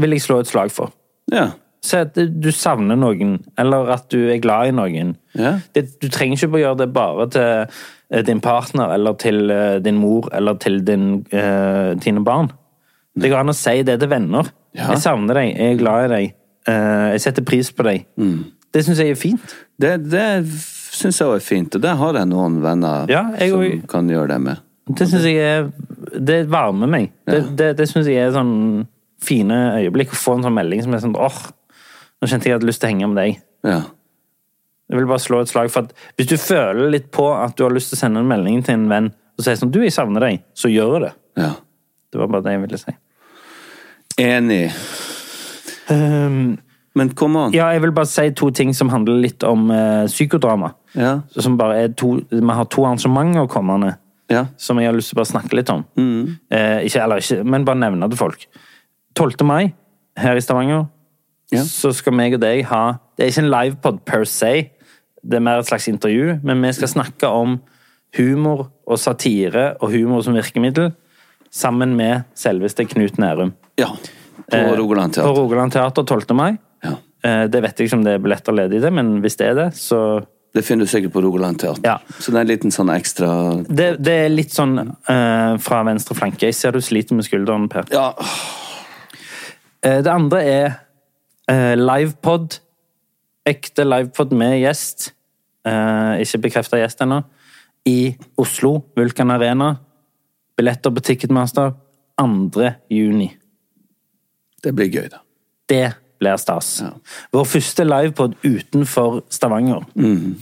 Speaker 2: vil jeg slå et slag for.
Speaker 3: Ja.
Speaker 2: Si at du savner noen, eller at du er glad i noen. Det, du trenger ikke å gjøre det bare til eh, din partner, eller til eh, din mor, eller til din, eh, dine barn. Det går an å si det til venner. Jeg savner deg, jeg er glad i deg, eh, jeg setter pris på deg. Det syns jeg er fint.
Speaker 3: Det, det syns jeg også er fint, og der har jeg noen venner
Speaker 2: Ja, jeg
Speaker 3: som
Speaker 2: og-
Speaker 3: kan gjøre det med.
Speaker 2: Det syns jeg er Det varmer meg. Det, det, det syns jeg er sånn fine øyeblikk. Å få en sånn melding som er sånn åh, nå kjente jeg at jeg hadde lyst til å henge med deg.
Speaker 3: Ja.
Speaker 2: Jeg vil bare slå et slag for at hvis du føler litt på at du har lyst til å sende en melding til en venn og si sånn du, jeg savner deg, så gjør det.
Speaker 3: Ja.
Speaker 2: Det var bare det jeg ville si.
Speaker 3: Enig. Men come on.
Speaker 2: Ehm, Ja, jeg vil bare si to ting som handler litt om eh, psykodrama.
Speaker 3: Ja.
Speaker 2: Som bare er to, vi har to arrangementer kommende
Speaker 3: Ja.
Speaker 2: som jeg har lyst til å bare snakke litt om.
Speaker 3: Mm.
Speaker 2: Eh, ikke, eller ikke, men bare nevne til folk. 12. mai her i Stavanger så skal meg og deg ha Det er ikke en livepod per se, det er mer et slags intervju, men vi skal snakke om humor og satire og humor som virkemiddel sammen med selveste Knut Nærum.
Speaker 3: Ja. På
Speaker 2: Eh,
Speaker 3: Rogaland Teater.
Speaker 2: På Rogaland Teater 12. mai. Eh, Det vet jeg ikke om det er billetter ledig i det, men hvis det er det, så
Speaker 3: Det finner du sikkert på Rogaland Teater. Så det er en liten sånn ekstra
Speaker 2: Det, det er litt sånn eh, fra venstre flanke. Jeg ser du sliter med skulderen, Per. Eh, det andre er eh, livepod. Ekte livepod med gjest. Eh, ikke bekrefta gjest ennå. I Oslo, Vulkan Arena. Billetter på Ticketmaster 2. juni.
Speaker 3: Det blir gøy, da.
Speaker 2: Det blir stas. Vår første livepod utenfor Stavanger.
Speaker 3: Mm.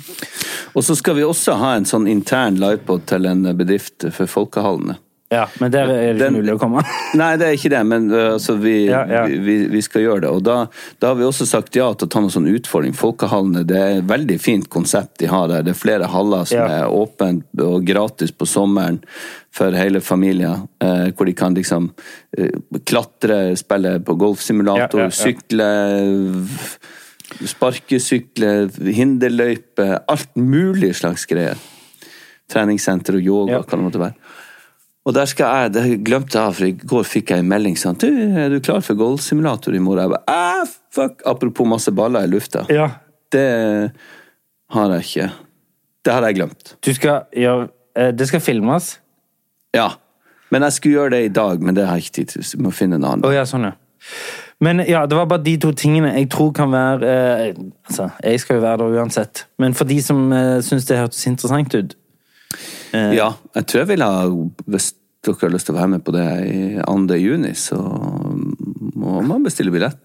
Speaker 3: Og så skal vi også ha en sånn intern livepod til en bedrift for folkehallene.
Speaker 2: Ja, men der er det ikke mulig å komme.
Speaker 3: Nei, det er ikke det, men uh, altså, vi, Vi, vi, vi skal gjøre det. Og da, da har vi også sagt ja til å ta noen sånn utfordring. Folkehallene, det er et veldig fint konsept de har der. Det er flere haller som
Speaker 2: Ja.
Speaker 3: er åpent og gratis på sommeren for hele familien. eh, hvor de kan liksom eh, klatre, spille på golfsimulator,
Speaker 2: Ja, ja, ja.
Speaker 3: sykle v- Sparkesykle, hinderløype, alt mulig slags greier. Treningssenter og yoga, hva det måtte være. Og der skal jeg, det glemte jeg, for i går fikk jeg en melding sånn Du, er du klar for golfsimulator i morgen? Jeg bare, ah, fuck! Apropos masse baller i lufta. Det har jeg ikke. Det har jeg glemt.
Speaker 2: Du skal gjøre eh, Det skal filmes?
Speaker 3: Ja. Men jeg skulle gjøre det i dag, men det har jeg ikke tid til. så Vi må finne en annen.
Speaker 2: Å ja, sånn, ja. Men ja, det var bare de to tingene jeg tror kan være eh, Altså, jeg skal jo være der uansett. Men for de som eh, syns det hørtes interessant ut
Speaker 3: Ja, jeg tror jeg ville ha Hvis dere har lyst til å være med på det i 2. juni, så må man bestille billett.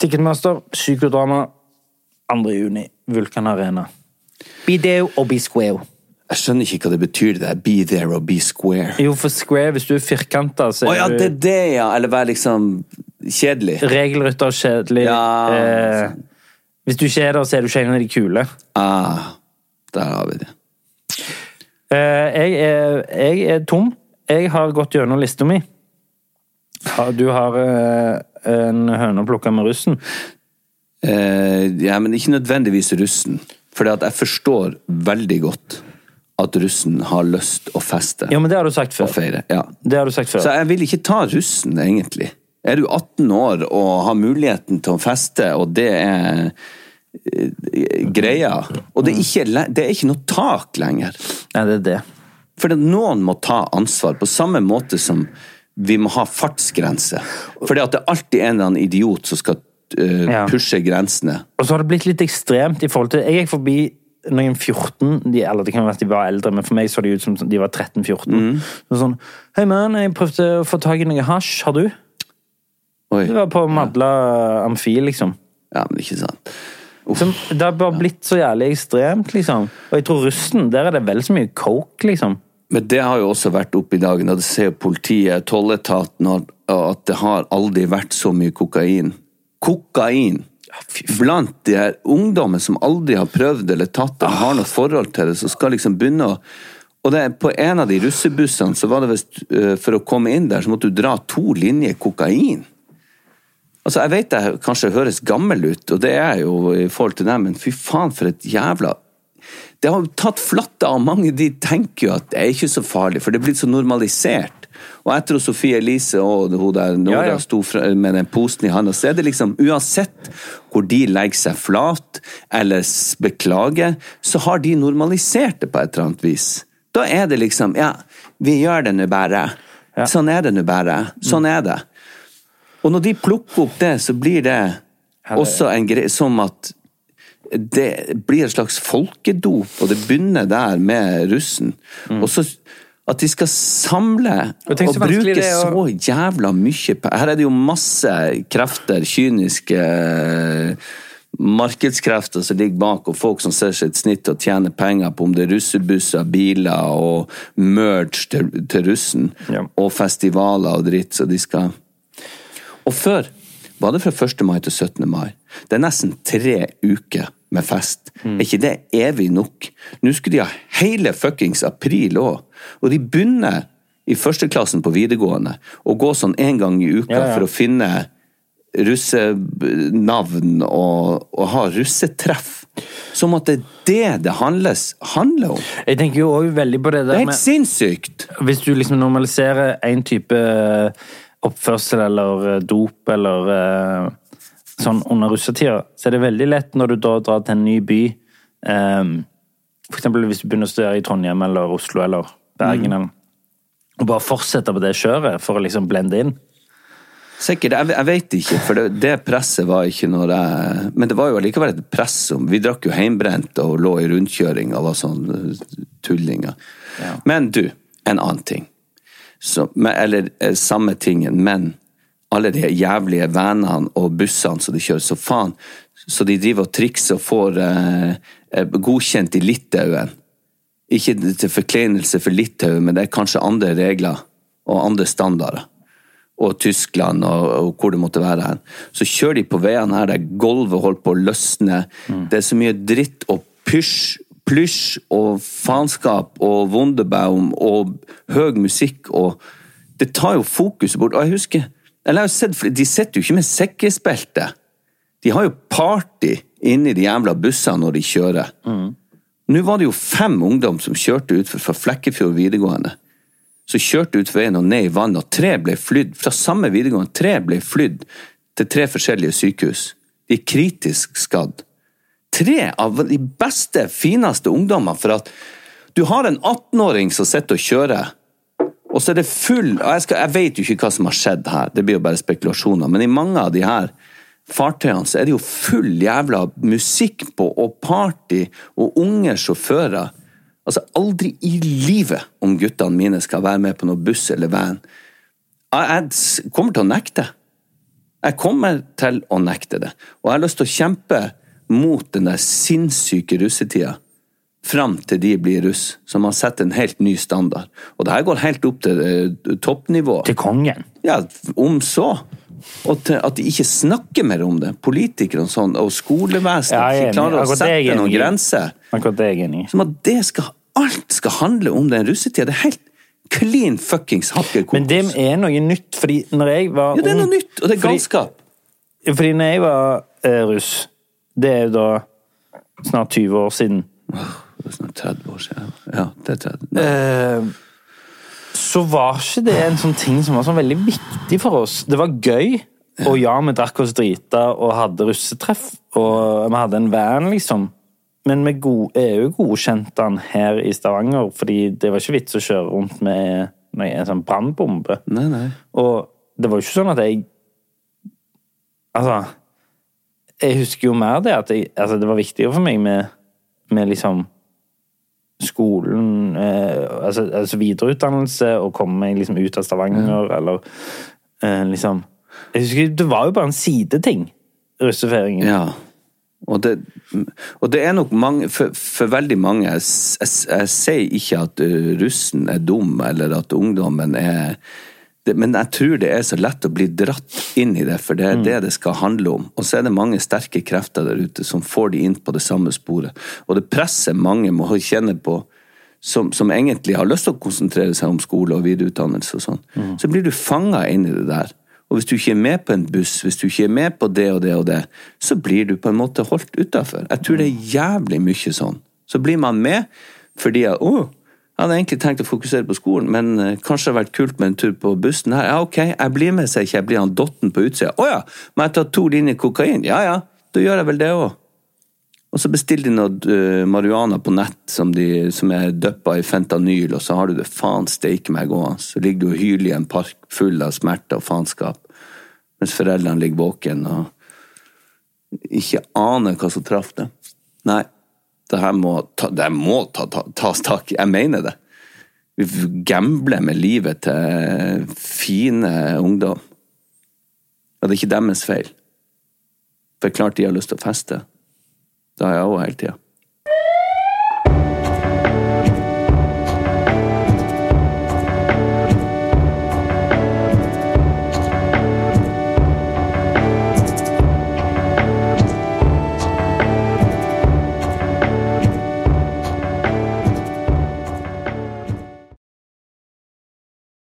Speaker 2: Ticketmaster, psykodrama, 2. juni, Vulkan Arena. Bideo og be square.
Speaker 3: Jeg skjønner ikke hva det betyr, det der be there og be square.
Speaker 2: Jo, for square, hvis du er firkanta, så
Speaker 3: Å
Speaker 2: er
Speaker 3: ja,
Speaker 2: du
Speaker 3: det er det, ja! Eller være liksom kjedelig.
Speaker 2: regelrytter, kjedelig
Speaker 3: Ja,
Speaker 2: eh, Hvis du ikke er der, så er du ikke en av de kule.
Speaker 3: Ah, der har vi det.
Speaker 2: Eh, jeg, er, jeg er tom. Jeg har gått gjennom lista mi. Har- Du har eh, en høne å plukke med russen.
Speaker 3: Eh, ja, men ikke nødvendigvis russen. For jeg forstår veldig godt at russen har lyst å feste
Speaker 2: Ja, men det har du sagt
Speaker 3: og
Speaker 2: før.
Speaker 3: feire. Ja.
Speaker 2: Det har du sagt før.
Speaker 3: Så jeg vil ikke ta russen, egentlig. Er du 18 år og har muligheten til å feste, og det er eh, greia Og det er ikke, le- det er ikke noe tak lenger.
Speaker 2: Nei, det er det.
Speaker 3: For det- noen må ta ansvar, på samme måte som vi må ha fartsgrense. For det at det alltid er en eller annen idiot som skal eh,
Speaker 2: Ja.
Speaker 3: pushe grensene.
Speaker 2: Og så har det blitt litt ekstremt i forhold til Jeg gikk forbi noen 14 de, Eller det kan være at de var eldre, men for meg så de ut som de var 13-14. Så Sånn Hei, mann, jeg prøvde å få tak i noe hasj. Har du?
Speaker 3: Oi.
Speaker 2: Det var på Madla Amfi, liksom.
Speaker 3: Ja, men ikke sant.
Speaker 2: Som, det har bare blitt så jævlig ekstremt, liksom. Og jeg tror russen, der er det vel så mye coke, liksom.
Speaker 3: Men det har jo også vært oppe i dagen, og det ser jo politiet, tolletaten, og og at det har aldri vært så mye kokain. Kokain! Blant de her ungdommen som aldri har prøvd eller tatt eller har noe forhold til det, som skal liksom begynne å Og det, er på en av de russebussene så var det visst eh, For å komme inn der så måtte du dra to linjer kokain. Altså, Jeg vet jeg kanskje høres gammel ut, og det er jeg jo i forhold til dem, men fy faen for et jævla Det har jo tatt flatta av mange. De tenker jo at det er ikke så farlig, for det er blitt så normalisert. Og etter at Sofie Elise og hun der Nora
Speaker 2: Ja, ja.
Speaker 3: sto fra- med den posen i handa, så er det liksom Uansett hvor de legger seg flat eller s- beklager, så har de normalisert det på et eller annet vis. Da er det liksom Ja, vi gjør det nå bare. Sånn er det nå bare. Sånn
Speaker 2: Mm.
Speaker 3: er det. Og når de plukker opp det, så blir det også en greie som at det blir et slags folkedop, og det begynner der med russen. Og så at de skal samle og,
Speaker 2: Mm. Og tenk så vanskelig
Speaker 3: bruke
Speaker 2: det er å-
Speaker 3: så jævla mye pe- Her er det jo masse krefter, kyniske eh, markedskrefter som ligger bak, og folk som ser seg et snitt og tjener penger på om det er russebusser, biler og merge til, til russen, og festivaler og dritt, så de skal Og før Var det fra 1. mai til 17. mai? Det er nesten tre uker med fest.
Speaker 2: Mm.
Speaker 3: Er ikke det evig nok? Nå skulle de ha hele fuckings april òg! Og de begynner i førsteklassen på videregående og går sånn én gang i uka
Speaker 2: Ja, ja.
Speaker 3: for å finne russenavn og, og ha russetreff. Som at det er det det handles, handler om.
Speaker 2: Jeg tenker jo også veldig på det der
Speaker 3: Det er helt sinnssykt!
Speaker 2: Hvis du liksom normaliserer en type eh, oppførsel eller eh, dop eller eh, sånn under russetida, så er det veldig lett når du da drar til en ny by eh, For eksempel hvis du begynner å studere i Trondheim eller Oslo eller Bergen eller og bare fortsette på det kjøret for å liksom blende inn.
Speaker 3: Sikkert. Jeg, jeg vet ikke, for det, det presset var ikke når jeg Men det var jo allikevel et press som Vi drakk jo heimbrent og lå i rundkjøring og var sånn eh, tullinger. Men du, en annen ting. Så, men, eller eh, samme tingen, men alle de jævlige vanene og bussene som de kjører, så faen. Så de driver og trikser og får eh, eh, godkjent i Litauen. Ikke til forkleinelse for Litauen, men det er kanskje andre regler og andre standarder og Tyskland og, og hvor det måtte være hen. Så kjører de på veiene her der gulvet holder på å løsne. Det er så mye dritt og pysj, plysj og faenskap og Wunderbaum og høy musikk og Det tar jo fokuset bort. Og jeg husker eller jeg har jo sett, for De sitter jo ikke med sekkesbelte. De har jo party inni de jævla bussene når de kjører. Nå var det jo fem ungdom som kjørte utfor fra Flekkefjord videregående så kjørte ut veien og ned i vannet, og tre ble flydd fra samme videregående. Tre ble flydd til tre forskjellige sykehus. De er kritisk skadd. Tre av de beste, fineste ungdommene for at du har en 18-åring som sitter og kjører, og så er det full og jeg, skal, jeg vet jo ikke hva som har skjedd her, det blir jo bare spekulasjoner, men i mange av de her fartøyene så er det jo full jævla musikk på, og party, og unge sjåfører. Altså, aldri i livet om guttene mine skal være med på noe buss eller van. Jeg, jeg s- kommer til å nekte. Jeg kommer til å nekte det. Og jeg har lyst til å kjempe mot den der sinnssyke russetida. Fram til de blir russ, som har sett en helt ny standard. Og det her går helt opp til eh, toppnivå. Til
Speaker 2: kongen?
Speaker 3: Ja, om så. Og til at de ikke snakker mer om det. Politikere og sånn, og skolevesenet
Speaker 2: Ja, jeg er
Speaker 3: ikke klarer
Speaker 2: enig.
Speaker 3: å
Speaker 2: Akkurat det er jeg
Speaker 3: sette noen
Speaker 2: enig i.
Speaker 3: grenser.
Speaker 2: Akkurat det er jeg enig i.
Speaker 3: Som at det skal, alt skal handle om den russetida. Det er helt clean fuckings hakkekokos.
Speaker 2: Men det er noe nytt, fordi når jeg var
Speaker 3: Ja, det er noe
Speaker 2: ung-
Speaker 3: nytt, og det er
Speaker 2: fordi-
Speaker 3: galskap.
Speaker 2: Fordi når jeg var eh, russ, det er jo da snart 20 år siden
Speaker 3: Det er snart 30 år siden. Ja, det er 30.
Speaker 2: eh, Så var ikke det en sånn ting som var sånn veldig viktig for oss. Det var gøy, og ja, vi drakk oss drita og hadde russetreff, og vi hadde en van, liksom. Men vi go- er jo godkjent den her i Stavanger, fordi det var ikke vits å kjøre rundt med med en sånn brannbombe.
Speaker 3: Nei, nei.
Speaker 2: Og det var jo ikke sånn at jeg Altså Jeg husker jo mer det at jeg, altså, det var viktigere for meg med, med liksom skolen eh, altså, altså videreutdannelse og komme meg liksom ut av Stavanger, eller eh, liksom Jeg husker det var jo bare en sideting, russefeiringen.
Speaker 3: Ja. Og det, og det er nok mange For, for veldig mange jeg, s- jeg, s- jeg sier ikke at ø, russen er dum, eller at ungdommen er det, Men jeg tror det er så lett å bli dratt inn i det, for det er det det skal handle om. Og så er det mange sterke krefter der ute som får de inn på det samme sporet. Og det presser mange må kjenne på, som, som egentlig har lyst til å konsentrere seg om skole og videreutdannelse og sånn. Så blir du fanga inn i det der. Og hvis du ikke er med på en buss, hvis du ikke er med på det og det og det, så blir du på en måte holdt utafor. Jeg tror det er jævlig mye sånn. Så blir man med fordi at Å, jeg hadde egentlig tenkt å fokusere på skolen, men eh, kanskje det hadde vært kult med en tur på bussen her. Ja, ok, jeg blir med, så jeg ikke jeg blir han dotten på utsida. Å ja, må jeg ta to linjer kokain? Ja ja, da gjør jeg vel det òg. Og så bestiller de noe eh, marihuana på nett som, de, som er døppa i fentanyl, og så har du det faen steike meg gående. Så ligger du og hyler i en park full av smerte og faenskap, mens foreldrene ligger våken og ikke aner hva som traff dem. Nei, det her må, ta, det her må ta, ta, tas tak i. Jeg mener det. Vi gambler med livet til fine ungdom. Og det er ikke deres feil. For klart de har lyst til å feste. Det har jeg òg hele tida.